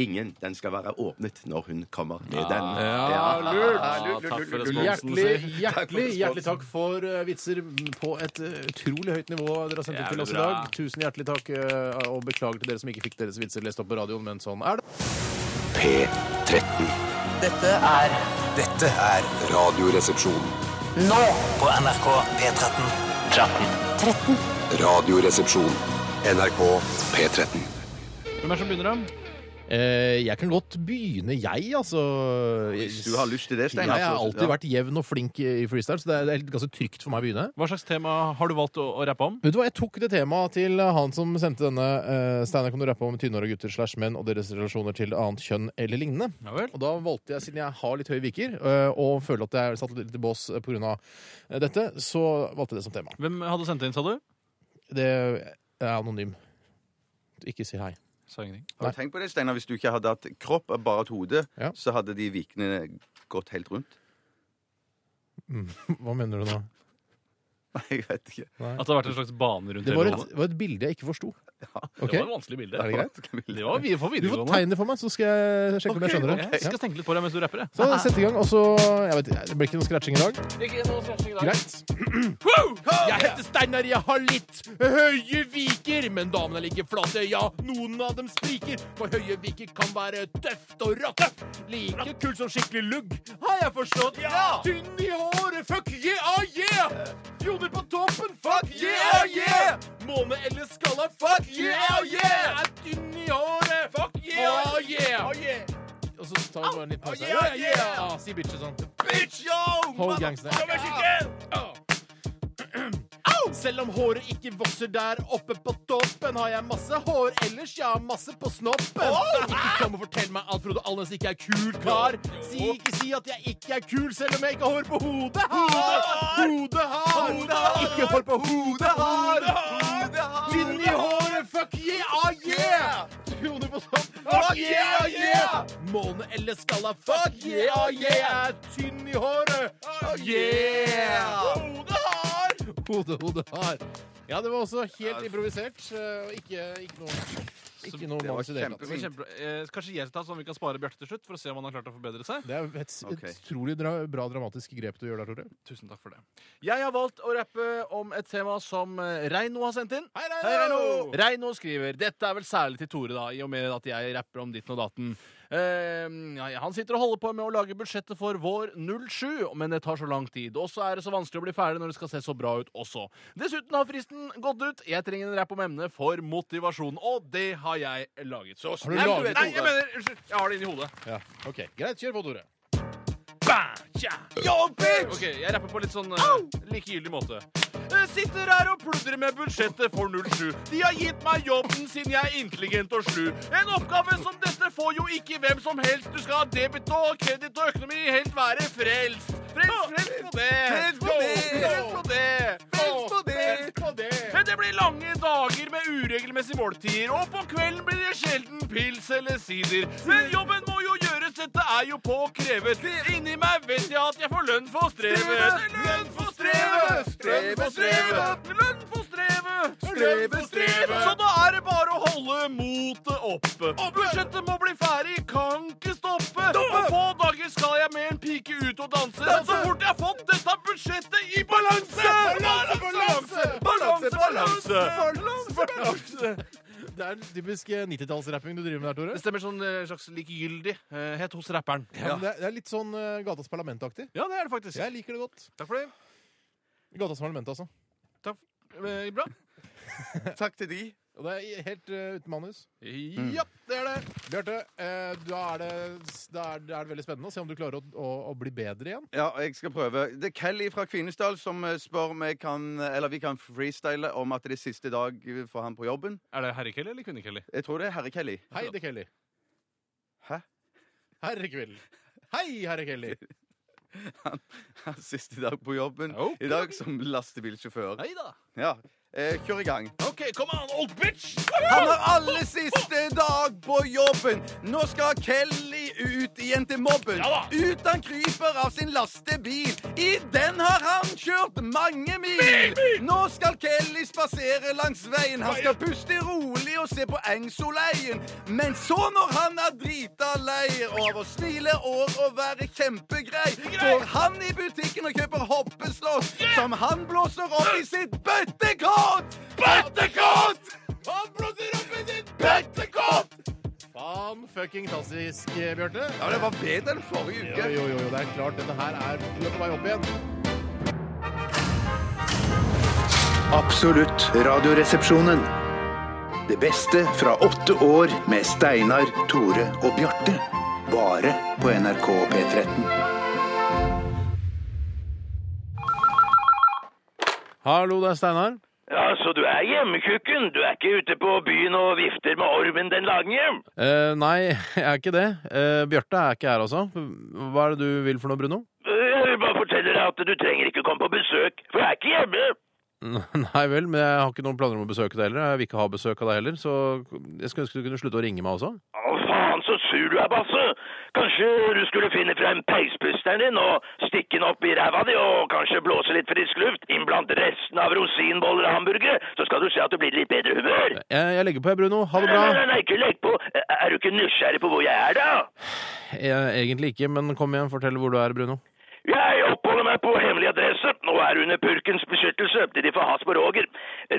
J: Ingen. Den skal være åpnet når hun kommer med den. Ja,
H: Ja,
J: lurt,
H: takk
J: lurt,
H: for
J: lurt,
H: responsen.
J: lurt.
G: Hjertelig,
H: [LAUGHS]
G: hjertelig,
J: responsen.
G: hjertelig takk for eh, vitser på et eh, utrolig høyt nivå dere har sendt inn til oss i
H: Jævlig bra.
G: dag. Tusen hjertelig takk, eh, og beklager til dere som ikke fikk deres vitser lest opp på radioen, men sånn er det.
A: P13.
E: Dette er
A: Dette er Radioresepsjon.
E: nå på NRK P13. 13.
A: Radioresepsjon. NRK P13.
H: Hvem er det som begynner, da?
G: Eh, jeg kan godt begynne, jeg, altså.
J: Hvis du har lyst til det, Stein.
G: Jeg har
J: altså.
G: alltid vært jevn og flink i i freestyle, så det er- det er ganske trygt for meg å begynne.
H: Hva slags tema har du valgt å, å rappe om?
G: Vet du hva, Jeg tok det temaet til han som sendte denne. Uh, Steinar, kan du rappe om tynnhåra gutter slash menn og deres relasjoner til annet kjønn eller lignende?
H: Ja vel.
G: Og da valgte jeg, siden jeg har litt høye viker, eh, og føler at jeg er satt litt i bås eh, på grunn av eh, dette, så valgte jeg det som tema.
H: Hvem hadde sendt det inn, sa du?
G: Det er anonym. Ikke si hei. [LAUGHS]
H: Sa ingenting.
J: Har du tenkt på det, Steinar? Hvis du ikke hadde hatt kropp, bare hatt hode,
G: Ja.
J: så hadde de vikene gått helt rundt. [LAUGHS]
G: Hva mener du nå?
J: Nei, jeg vet ikke.
H: At det har vært en slags bane rundt
G: Det var
H: hele
G: et,
H: hodet?
G: var et bilde jeg ikke forsto.
H: Det
G: Ok.
H: var et vanskelig bilde.
G: Er det greit?
H: Det var vi for
G: Du får
H: videregående.
G: tegne det for meg, så skal jeg sjekke om jeg skjønner det.
H: Ok, Jeg skal tenke litt på det mens du rapper. jeg. Ah,
G: Så sett i gang, og så jeg vet, Det blir ikke noe scratching i dag.
H: Ikke noe stretching i dag.
G: Greit. [CLEARS THROAT] Jeg heter Steinar, jeg har litt høye viker. Men damene ligger flate, ja, noen av dem spriker. For høye viker kan være tøft og rått. Like kul som skikkelig lugg, har jeg forstått. Ja! Tynn i håret, fuck yeah, ah, yeah! Fjoner på toppen, fuck yeah, ah, yeah! Måne eller skalla, fuck yeah, yeah! Er tynn i håret, fuck yeah, ah, yeah! Og så tar vi bare en liten pause. Ja, ja, ja. Ah, Si bitch og sånn. Bitch, yo! Hold gangster. Ah. [CLEARS THROAT] Selv om håret ikke vokser der oppe på toppen, har jeg masse hår ellers. Jeg har masse på snoppen. Ikke kom og fortell meg at Frode Alnes ikke er kul kar. Si ikke si at jeg ikke er kul, selv om jeg ikke har hår på hodet. Har. Hodet har. Ikke hår på hodet har. Tynn i håret, fuck yeah, ah yeah! Kroner på topp, fuck yeah, ah yeah! Måne eller skalla, fuck yeah, ah yeah! Er Tynn i håret, ah yeah! Hodet har! Hode, hode har. Ja, det var også helt improvisert. eh, og Ikke, ikke noe, ikke noe manus i det hele
H: Det
G: tatt.
H: var kjempebra. Eh, Kanskje jeg skal ta sånn at vi kan spare Bjarte til slutt, for å se om han har klart å forbedre seg.
G: Det er et, et utrolig dra, bra dramatisk grep du gjør der, Tore.
H: Tusen takk for det. Jeg har valgt å rappe om et tema som eh, Reino har sendt inn.
G: Hei, Reino!
H: Reino skriver Dette er vel særlig til Tore, da, i og med at jeg rapper om ditten og datten. Eh, ja, han sitter og holder på med å lage budsjettet for vår 07, men det tar så lang tid. Og så er det så vanskelig å bli ferdig når det skal se så bra ut også. Dessuten har fristen gått ut. Jeg trenger en rapp om emnet for motivasjon, og det har jeg laget. Så
G: du
H: Nei,
G: laget
H: vet- Nei, jeg
G: ordet?
H: mener, unnskyld. Jeg har det inni hodet.
G: Ja, ok. Greit, kjør på, Tore.
H: Ok, jeg rapper på litt sånn uh, likegyldig måte. Jeg Sitter her og pludrer med budsjettet for 07. De har gitt meg jobben siden jeg er intelligent og slu. En oppgave som dette får jo ikke hvem som helst. Du skal ha debit og kreditt og økonomi, helt være frelst. Frelst, frelst på det. Frelst på det. Frelst på det. Frelst på det. Men det blir lange dager med uregelmessige måltider, og på kvelden blir det sjelden pils eller sider. Men jobben må jo gjøres, dette er jo påkrevet. Inni meg vet jeg at jeg får lønn for strevet. Lønn for strevet! Lønn for strevet! Lønn for strevet! Streve, streve! Så da er det bare å holde motet oppe. Og budsjettet må bli ferdig, kan ikke stoppe. På få dager skal jeg med en pike ut og danse. Men så fort jeg har fått dette budsjettet i balanse! Balanse, balanse! Balanse, balanse! Balanse, balanse!
G: Det er en typisk 90-tallsrapping du driver med der, Tore.
H: Det stemmer sånn eh, slags likegyldighet hos rapperen.
G: Ja, men Det, er, det er litt sånn eh, Gatas Parlament-aktig.
H: Ja, det er det faktisk.
G: Jeg liker det godt.
H: Takk for det.
G: Gatas Parlament, altså.
H: Takk. Eh, Bra.
J: Takk til de.
G: Og det er helt eh, uten manus.
H: Ja.
G: det er det. Bjarte, eh, da, er det, da, er, da er det veldig spennende å se om du klarer å, å, å bli bedre igjen.
J: Ja, jeg skal prøve. Det er Kelly fra Kvinesdal som eh, spør om jeg kan Eller vi kan freestyle om at det er siste dag for han på jobben.
H: Er det herre-Kelly eller kvinne-Kelly?
J: Jeg tror det er herre Kelly.
G: Hei, det er Kelly.
J: Hæ? [LAUGHS]
G: Herre Kvill. Hei, herre Kelly.
J: Hans Siste dag på jobben.
H: Ok.
J: I dag som lastebilsjåfør.
H: Nei da.
J: Ja. Eh, kjør i gang.
H: OK, come on, old bitch!
J: Han har aller siste dag på jobben. Nå skal Kelly ut igjen til mobben.
H: Ja da.
J: Ut han kryper av sin lastebil. I den har han kjørt mange mil. Nå skal Kelly spasere langs veien. Han skal puste rolig og se på Engsoleien. Men så, når han er drita lei av å smile og å være kjempegrei, går han i butikken og kjøper hoppeslott, som han blåser opp i sitt bøttekott. Bøttekott!
G: Han blåser opp i sitt
J: Bøttekott!
G: Fan fucking tastisk, eh, Bjarte.
J: Ja, det var bedre enn forrige
G: Jo,
J: uke.
G: jo, jo, jo, det er klart. Dette her er Du er på vei opp igjen.
I: Absolutt radioresepsjonen. Det beste fra åtte år med Steinar, Tore og Bjarte. Bare på NRK P13.
G: Hallo, det er Steinar.
K: Ja, så du er hjemmekukken? Du er ikke ute på byen og vifter med ormen den lange?
G: Eh, nei, jeg er ikke det. Eh, Bjarte er ikke her, altså. Hva er det du vil for noe, Bruno?
K: Jeg vil bare fortelle deg at du trenger ikke komme på besøk, for jeg er ikke hjemme.
G: [LAUGHS] Nei vel, men jeg har ikke noen planer om å besøke deg heller. Jeg vil ikke ha besøk av deg heller, så jeg skulle ønske du kunne slutte å ringe meg også.
K: Å, faen, så sur du er, Basse. Kanskje du skulle finne frem peispusteren din og stikke den opp i ræva di, og kanskje blåse litt frisk luft innblant resten av rosinboller og hamburgere, så skal du se at du blir i litt bedre humør.
G: Jeg, jeg legger på, jeg, Bruno. Ha det
K: Nei, nei,
G: bra.
K: nei, nei, ikke legg på. Er du ikke nysgjerrig på hvor jeg er, da?
G: Jeg, egentlig ikke, men kom igjen, fortell hvor du er, Bruno.
K: Jeg oppholder meg på hemmelig adresse og er under purkens beskyttelse til de får has på Roger.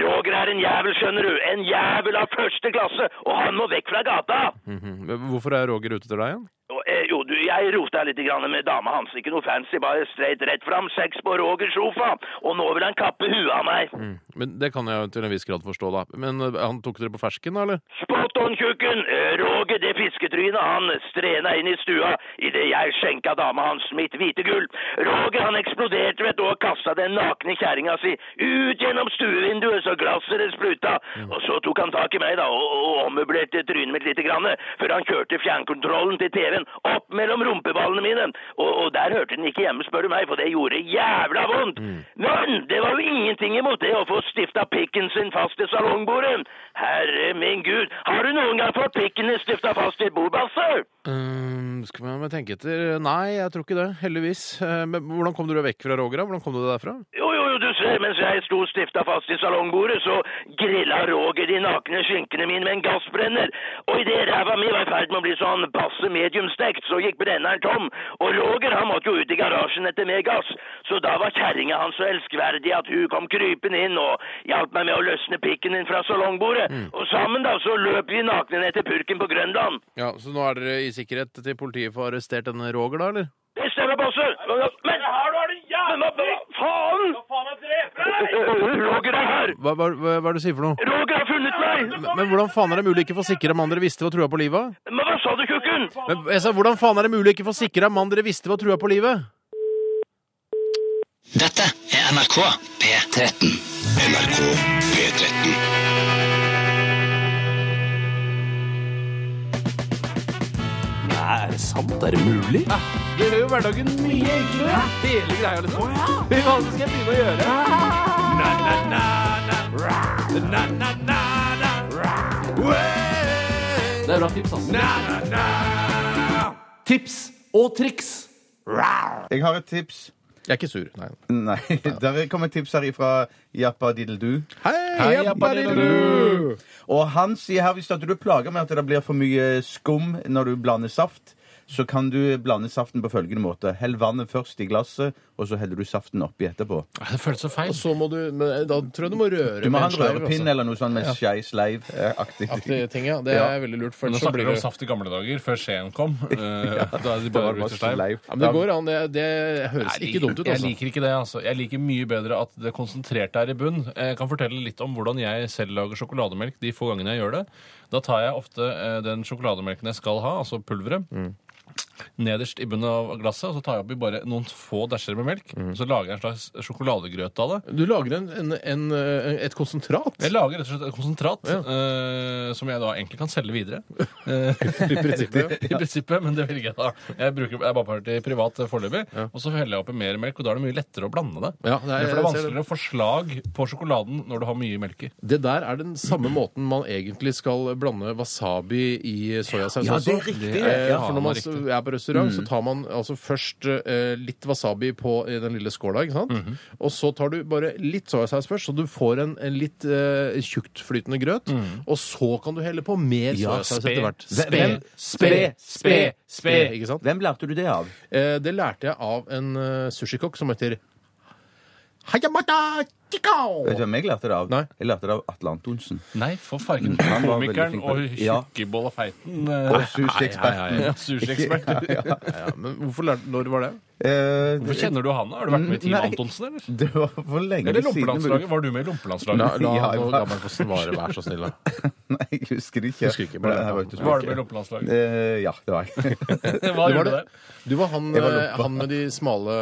K: Roger er en jævel, skjønner du. En jævel av første klasse, og han må vekk fra gata.
G: Mhm. Hvorfor er Roger ute etter deg igjen?
K: Og, eh, jo, du, jeg rota litt grann med dama hans. Ikke noe fancy, bare straight rett fram. Sex på Rogers sofa. Og nå vil han kappe huet av meg.
G: Mm. Men Det kan jeg jo til en viss grad forstå, da. Men eh, han tok dere på fersken, da, eller?
K: Spot on, tjukken! Eh, Roger, det fisketrynet, han strena inn i stua idet jeg skjenka dama hans mitt hvite gull. Roger, han eksploderte, vet du, og kasta den nakne kjerringa si ut gjennom stuevinduet så glasset det spruta. Og så tok han tak i meg, da, og, og ommøblerte trynet mitt lite grann, før han kjørte fjernkontrollen til TV-en opp mellom rumpeballene mine. Og, og der hørte den ikke hjemme, spør du meg, for det gjorde jævla vondt. Men det var jo ingenting imot det å få stifta pikken sin fast i salongbordet. Herre min gud, har du noen gang fått pikken din stifta fast i et bord, Basse?
G: Um, skal vi tenke etter Nei, jeg tror ikke det. Heldigvis. Eh, Men hvordan kom du deg vekk fra Roger, da? Hvordan kom du deg derfra?
K: Jo, jo, jo, du ser, mens jeg sto stifta fast i salongbordet, så grilla Roger de nakne skinkene mine med en gassbrenner. Og idet ræva mi var i ferd med å bli sånn passe mediumstekt, så gikk brenneren tom. Og Roger han måtte jo ut i garasjen etter mer gass, så da var kjerringa hans så elskverdig at hun kom krypende inn og hjalp meg med å løsne pikken inn fra salongbordet. Og sammen, da, så løp vi nakne ned til purken på Grønland.
G: Ja, Så nå er dere i sikkerhet til politiet får arrestert denne Roger, da, eller?
K: Det stemmer, Bosse. Men her du er det jævlig! Men hva faen? Hva faen jeg dreper deg? [LAUGHS] Roger er her!
G: Hva, hva, hva, hva er det du sier for noe?
K: Roger har funnet meg!
G: Men, men hvordan faen er det mulig ikke få sikre en mann dere visste var trua på livet?
K: Men hva sa du, tjukken?
G: Men jeg sa, Hvordan faen er det mulig ikke få sikre en mann dere visste var trua på livet?
E: Dette er NRK P13.
F: NRK P13.
H: Nei, er det sant? Er det mulig? Det gjør jo hverdagen mye enklere. Hele greia, liksom. Hva skal jeg begynne å gjøre? Na, na, na, na. Na, na, na, na. Det er bra tips, altså. Na, na, na. Tips og triks.
D: Jeg har et tips. [LAUGHS]
G: Jeg er ikke sur. Nei.
D: Nei, der kommer et tips her ifra Jappa Diddledu.
G: Hei,
D: Hei,
G: Jappa
D: Jappa
G: Diddledu!
D: Og han sier her hvis at du plager med at det blir for mye skum når du blander saft, så kan du blande saften på følgende måte. Hell vannet først i glasset, og så heller du saften oppi etterpå.
H: Det føles så
G: Og
H: feil.
G: så må du, men eh, Da tror jeg du må røre
D: Du må ha en
G: sleiv,
D: rørepinn
G: altså.
D: eller noe sånt med eh, skei sleiv-aktig. [LAUGHS]
G: Aktige ting, ja. Det er veldig lurt. for
H: Nå
G: ellers så
H: snakker
G: blir
H: vi om
G: det-
H: saft i gamle dager, før skjeen [LAUGHS] kom. Eh, da er det bare ruter stein.
G: Ja, men det går an. Det, det høres
H: Nei,
G: ikke dumt ut, altså.
H: Jeg liker ikke det. altså. Jeg liker mye bedre at det konsentrerte er i bunn. Eh, Jeg kan fortelle litt om hvordan jeg selv lager sjokolademelk de få gangene jeg gjør det. Da tar jeg ofte eh, den sjokolademelken jeg skal ha, altså pulveret. Nederst i bunnen av glasset, og så tar jeg oppi bare noen få dæsjer med melk.
G: Mm.
H: Så lager jeg en slags sjokoladegrøt av det.
G: Du lager en, en, en, eh, et konsentrat. [LAUGHS]
H: Jeg lager rett og slett et konsentrat eh, som jeg da egentlig kan selge videre. eh,
G: I prinsippet.
H: [LAUGHS] I prinsippet, men det velger jeg da. Jeg bruker jeg bare har det til privat eh, foreløpig. Og så heller jeg oppi mer melk, og da er det mye lettere å blande det.
G: Ja, det
H: for det
G: er- jeg
H: er
G: ser det.
H: vanskeligere å få slag på sjokoladen når du har mye melk i.
G: Det der er den samme måten man egentlig skal blande wasabi i soyasaus
D: Ja, Mm. det er
G: også.
D: riktig,
G: Eh,
H: ja.
G: For når man
H: Ja,
G: så er på restaurant, så tar man altså først eh, litt wasabi på i den lille skåla, ikke sant? Og så tar du bare litt soyasaus først, så du får en, en litt eh, tjuktflytende grøt. Og så kan du helle på mer soyasaus etter hvert.
H: Spe,
D: spe,
H: spe, spe.
G: Ikke sant?
D: Hvem lærte du det av?
G: Eh, det lærte jeg av en eh, sushikokk som heter Hayamata Chikao.
D: Vet du hvem jeg lærte det av?
G: Nei.
D: Jeg lærte det av Atle Antonsen.
H: Nei, for fargen.
D: Han var veldig
H: Komikeren
D: flink på
H: og
D: det. Ja.
H: tjukkebolla feiten. eh,
D: Og sushieksperten.
H: ja,
G: [LAUGHS]
H: ja, ja. Sushieksperten.
G: Ja, men hvorfor lærte, når var det?
D: Eh,
H: Hvorfor kjenner du han? da? Har du vært med i Team
D: Nei.
G: Mm.
H: Antonsen, eller?
D: Det var for lenge
H: Eller
D: siden.
H: Lompelandslaget? Var du med i Lompelandslaget?
G: La, la
D: Ja, jeg
G: nå
D: var-
G: gammel få svare, vær så snill. da.
D: [LAUGHS] Nei, jeg husker ikke.
G: Husker ikke, men det
D: Nei, jeg
G: var-
D: ikke så
H: Var du med i
D: mye.
H: Lompelandslaget?
D: Eh, ja, det var jeg.
H: Hva
D: [LAUGHS]
G: Du var
H: gjorde du
G: [LAUGHS] det?
H: der?
G: Du var han,
D: Jeg var
G: eh,
D: loppa.
G: han med de smale,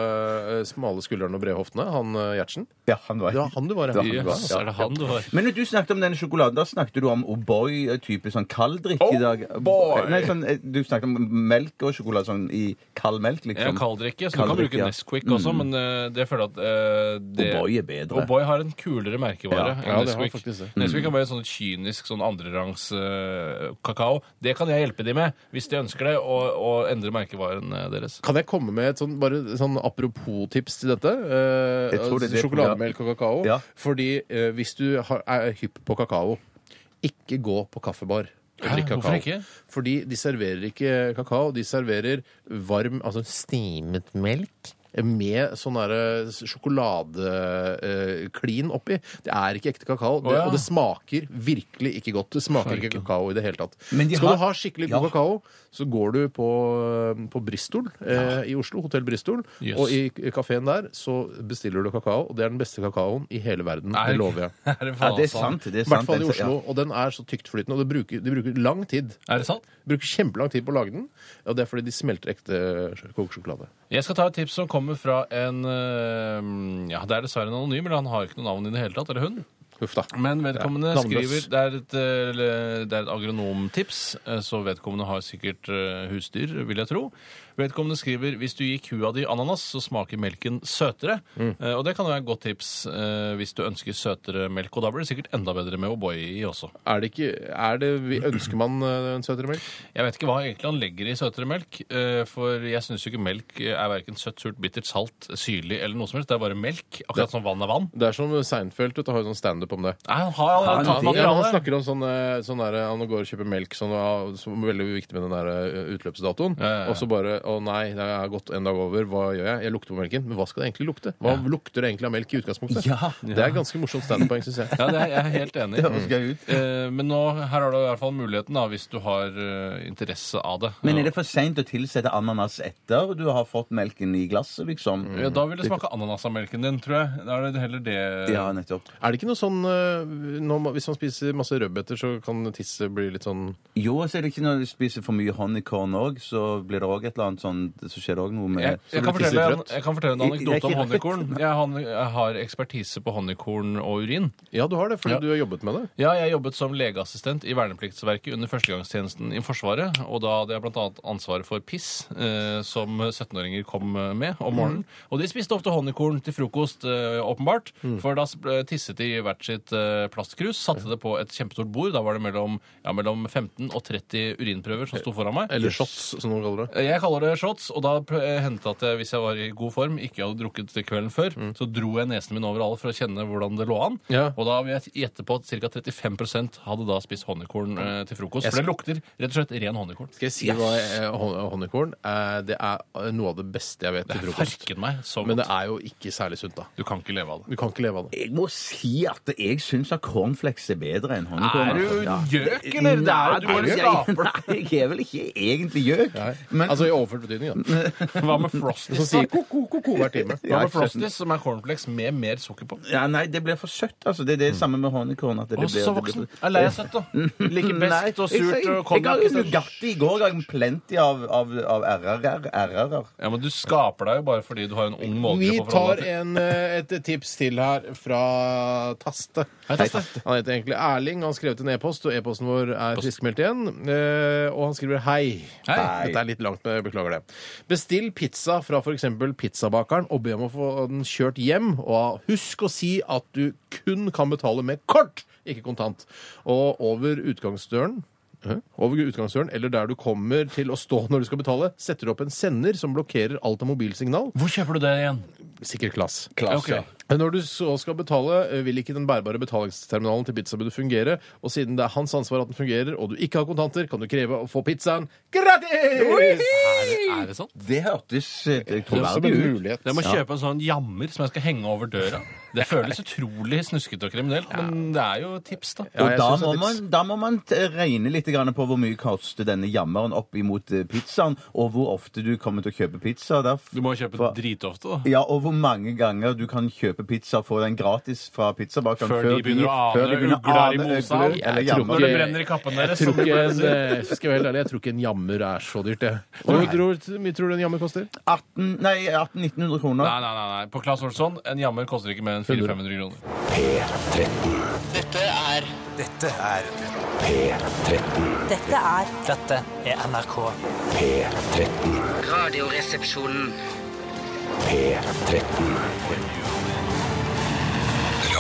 G: eh, smale skuldrene og brede hoftene. Han eh, Gjertsen.
D: ja, han var
G: Det
D: jeg.
G: var han du var.
D: Det var han du var.
H: Jøss, er det han du har?
D: Men når du snakket om denne sjokoladen, da snakket du om O'boy, type sånn kalddrikk i dag.
H: O'boy!
D: Nei, sånn, eh, du snakket om melk og sjokolade sånn i kald melk,
H: Jeg
D: liksom.
H: kaller det ikke, så du kan
D: Kaller det
H: bruke
D: ikke, ja.
H: Nesquik også, men eh, det føler jeg at eh, det
D: O'boy er bedre.
H: O'boy har en kulere merkevare
G: Ja,
H: enn
G: det har
H: Nesquik.
G: faktisk det.
H: Nesquik kan være et sånt kynisk sånn
D: andrerangs eh, kakao. Det kan jeg hjelpe de med, hvis de ønsker det, og, og endre merkevaren eh, deres.
G: Kan jeg komme med et sånn, bare sånn apropos-tips til dette? Eh,
J: Jeg tror det er det-
G: sjokolademelk og kakao.
J: Ja.
G: Fordi eh, hvis du har, er hypp på kakao, ikke gå på kaffebar. og
D: Hæ?
G: drikk kakao.
D: Hvorfor ikke?
G: Fordi de serverer ikke kakao, de serverer varm, altså stimet melk. Med sånn sjokoladeklin eh, oppi. Det er ikke ekte kakao. Det,
D: Å, ja.
G: Og det smaker virkelig ikke godt. Det smaker ikke kakao i det hele tatt.
J: Men de
G: Skal
J: har-
G: du ha skikkelig god
J: Ja.
G: kakao, så går du på, på Bristol eh, i Oslo, Hotell Bristol,
D: Jøss.
G: og i kafeen der så bestiller du kakao, og det er den beste kakaoen i hele verden.
D: Nei,
G: det lover jeg.
D: [LAUGHS] Er det,
J: Ja, det er
H: altså.
D: faen
J: sant. Det
G: I
J: er
G: hvert
J: sant.
G: fall i
J: Den-
G: Oslo, og den er så tyktflytende, og det bruker, de bruker lang tid.
D: sant? Er det sant?
G: Bruker kjempelang tid på å lage den, og det er fordi de smelter ekte kokesjokolade.
D: Jeg skal ta et tips som kommer fra en eh, Ja, det er dessverre en anonym, eller han har ikke noe navn i det hele tatt, eller hun.
G: Huff da.
D: Men vedkommende
G: Ja, navnløs.
D: skriver det er, et, eh, det er et agronomtips, eh, så vedkommende har sikkert eh, husdyr, vil jeg tro. Vedkommende skriver hvis du gir kua di ananas, så smaker melken søtere.
G: Mm.
D: Eh, Og det kan jo være et godt tips eh, hvis du ønsker søtere melk. Og da blir det sikkert enda bedre med O'boy i også.
G: Er det ikke er det, vi- Ønsker man eh, en søtere melk?
D: Jeg vet ikke hva egentlig han legger i søtere melk, eh, for jeg syns jo ikke melk er verken søtt, surt, bittert, salt, syrlig eller noe som helst. Det er bare melk. Akkurat som vann er vann.
G: Det er som Seinfeld vet du, har jo sånn standup om det.
D: Nei, han har allerede
G: Ja, han,
D: tatt
G: han
D: materialet.
G: snakker om sånn, eh, sånn der, Han går og kjøper melk, sånn, ah, som er veldig viktig med den der eh, utløpsdatoen.
D: Ja, ja, ja.
G: Og så bare Å nei, det har gått en dag over. Hva gjør jeg? Jeg lukter på melken. Men hva skal det egentlig lukte? Hva lukter det egentlig av melk i utgangspunktet? Det er ganske morsomt standup-poeng, syns jeg.
D: Ja, det er, jeg er helt
J: [LAUGHS]
D: enig.
J: høres gøy ut.
D: Eh, Men nå, her har du i hvert fall muligheten, da, hvis du har eh, interesse av det.
J: Men er det for seint å tilsette ananas etter du har fått melken i glasset, liksom?
D: Mm. ja, da vil det smake ananas av melken din, tror jeg. Da er det heller det
J: Ja, nettopp.
G: Er det ikke noe sånn eh, når man, Hvis man spiser masse rødbeter, så kan tisset bli litt sånn
J: Jo, og så er det ikke når du spiser for mye honeycorn òg, så blir det òg et eller annet sånn Så skjer det òg noe med
D: jeg, jeg, kan
G: blir det
D: fortelle en,
G: tisset
D: jeg kan fortelle en
J: Jeg- jeg er
D: anekdote om
J: ikke rett.
D: honningkorn. Jeg han- jeg har ekspertise på honningkorn og urin.
G: Ja, du har det, fordi
D: Ja.
G: du har jobbet med det.
D: Ja, jeg jobbet som legeassistent i vernepliktsverket under førstegangstjenesten i Forsvaret, og da hadde jeg bl.a. ansvaret for piss, eh, som 17-åringer kom eh, med om morgenen. Og de spiste ofte honningkorn til frokost, eh, åpenbart, for da s- eh, tisset de i hvert sitt eh, plastkrus, satte det på et kjempestort bord, da var det mellom, ja, mellom 15 og 30 urinprøver som sto foran meg.
G: Eller shots, som noen kaller det.
D: Jeg kaller det shots, og da pl- eh, hendte det at jeg, hvis jeg var i god form, ikke hadde drukket til kvelden før, så dro jeg nesen min over alle for å kjenne hvordan det lå an.
G: Ja.
D: Og da vil jeg gjette på at ca. 35 hadde da spist honningkorn eh, til frokost. For det lukter rett og slett ren honningkorn.
G: Skal jeg si hva eh, hon- honningkorn eh, Det er eh, noe av det beste jeg vet
D: Det
G: til frokost.
D: farket meg så
G: Men
D: godt.
G: det er jo ikke særlig sunt, da.
D: Du kan ikke
G: [LAUGHS]
D: leve av det.
G: Du kan ikke leve av det.
J: Jeg må si at jeg syns at cornflakes er bedre enn honeycorn.
D: Er du
J: altså. Ja.
D: gjøk, eller? Det er jo- du
J: Nei,
D: bare
J: jeg-
D: gaper.
J: [LAUGHS] Nei, jeg er vel ikke egentlig gjøk. Men
G: altså i overført betydning, da.
D: Hva med Frosties?
G: Som sier ko-ko-ko hver time.
D: Hva med Frosties, som er cornflakes med mer sukker på?
J: ja, nei, det blir for søtt. altså. Det er det samme med honeycorn. at det
D: Mm. Å,
J: blir-
D: så
J: det blir-
D: voksen. Er lei av søtt, da. Liker
J: Mm, Nei,
D: best og
J: jeg-
D: surt
J: jeg-
D: og konjakk.
J: Jeg
D: i
J: har jo
D: stedet.
J: Nugatti i går. Jeg har plenty av, av, av RR-er. RR-er.
D: Ja, men du skaper deg jo bare fordi du har en ung
G: Vi
D: målgruppe å forholde
G: tar
D: deg til.
G: en, eh, et tips til her fra Taste.
D: Hei, Taste.
G: Han heter egentlig Erling. Han skrev til en e-post, og e-posten vår er friskmeldt igjen. Eh, Og han skriver hei.
D: Hei.
G: Dette er litt langt, men jeg beklager det. Bestill pizza fra f.eks. pizzabakeren og be om å få den kjørt hjem. Og husk å si at du kun kan betale med kort, ikke kontant. Og over utgangsdøren Hæ? over utgangsdøren, eller der du kommer til å stå når du skal betale, setter du opp en sender som blokkerer alt av mobilsignal.
D: Hvor kjøper du det igjen?
G: Sikkert klass.
D: Klass, ja.
G: Men Når du så skal betale, eh, vil ikke den bærbare betalingsterminalen til pizzabudet fungere, og siden det er hans ansvar at den fungerer, og du ikke har kontanter, kan du kreve å få pizzaen gratis!
D: Er det sånn? sant?
J: Det hørtes eh,
G: Det er som en
J: troverdig ut.
G: mulighet.
D: Jeg må kjøpe en sånn jammer som jeg skal henge over døra. Det føles utrolig snuskete og kriminelt, men det er jo tips, da.
G: Ja,
J: Og
G: jeg
J: da
G: synes
J: må,
G: det er
J: man, da må man t- regne litt grann på hvor mye koster denne jammeren opp imot eh, pizzaen, og hvor ofte du kommer til å kjøpe pizza. derf-
D: Du må kjøpe
J: fra-
D: dritofte, da.
J: Ja, og hvor mange ganger du kan kjøpe pizza og få den gratis fra pizzabakeren
D: Før de begynner å ane
J: før de begynner å
D: ugler i
J: ane
D: mosa.
J: ugler
D: Jeg
J: eller
G: tror
J: jammer.
D: Når det brenner i kappen
G: Jeg
D: deres.
G: tror,
D: så
G: ikke
D: blir
G: en,
D: det-
G: eh, skal jeg være helt ærlig, jeg tror ikke en jammer er så dyrt, det. Hvor tror- hvor mye tror du en jammer koster?
J: 18, nei, 1800-1900 kroner.
D: Nei, nei, nei, nei. På Claes Olsson, en jammer koster ikke mer enn 400-500 kroner.
A: Dette er P13.
K: Dette er
L: Dette er NRK.
A: P13.
K: Radioresepsjonen.
A: P13.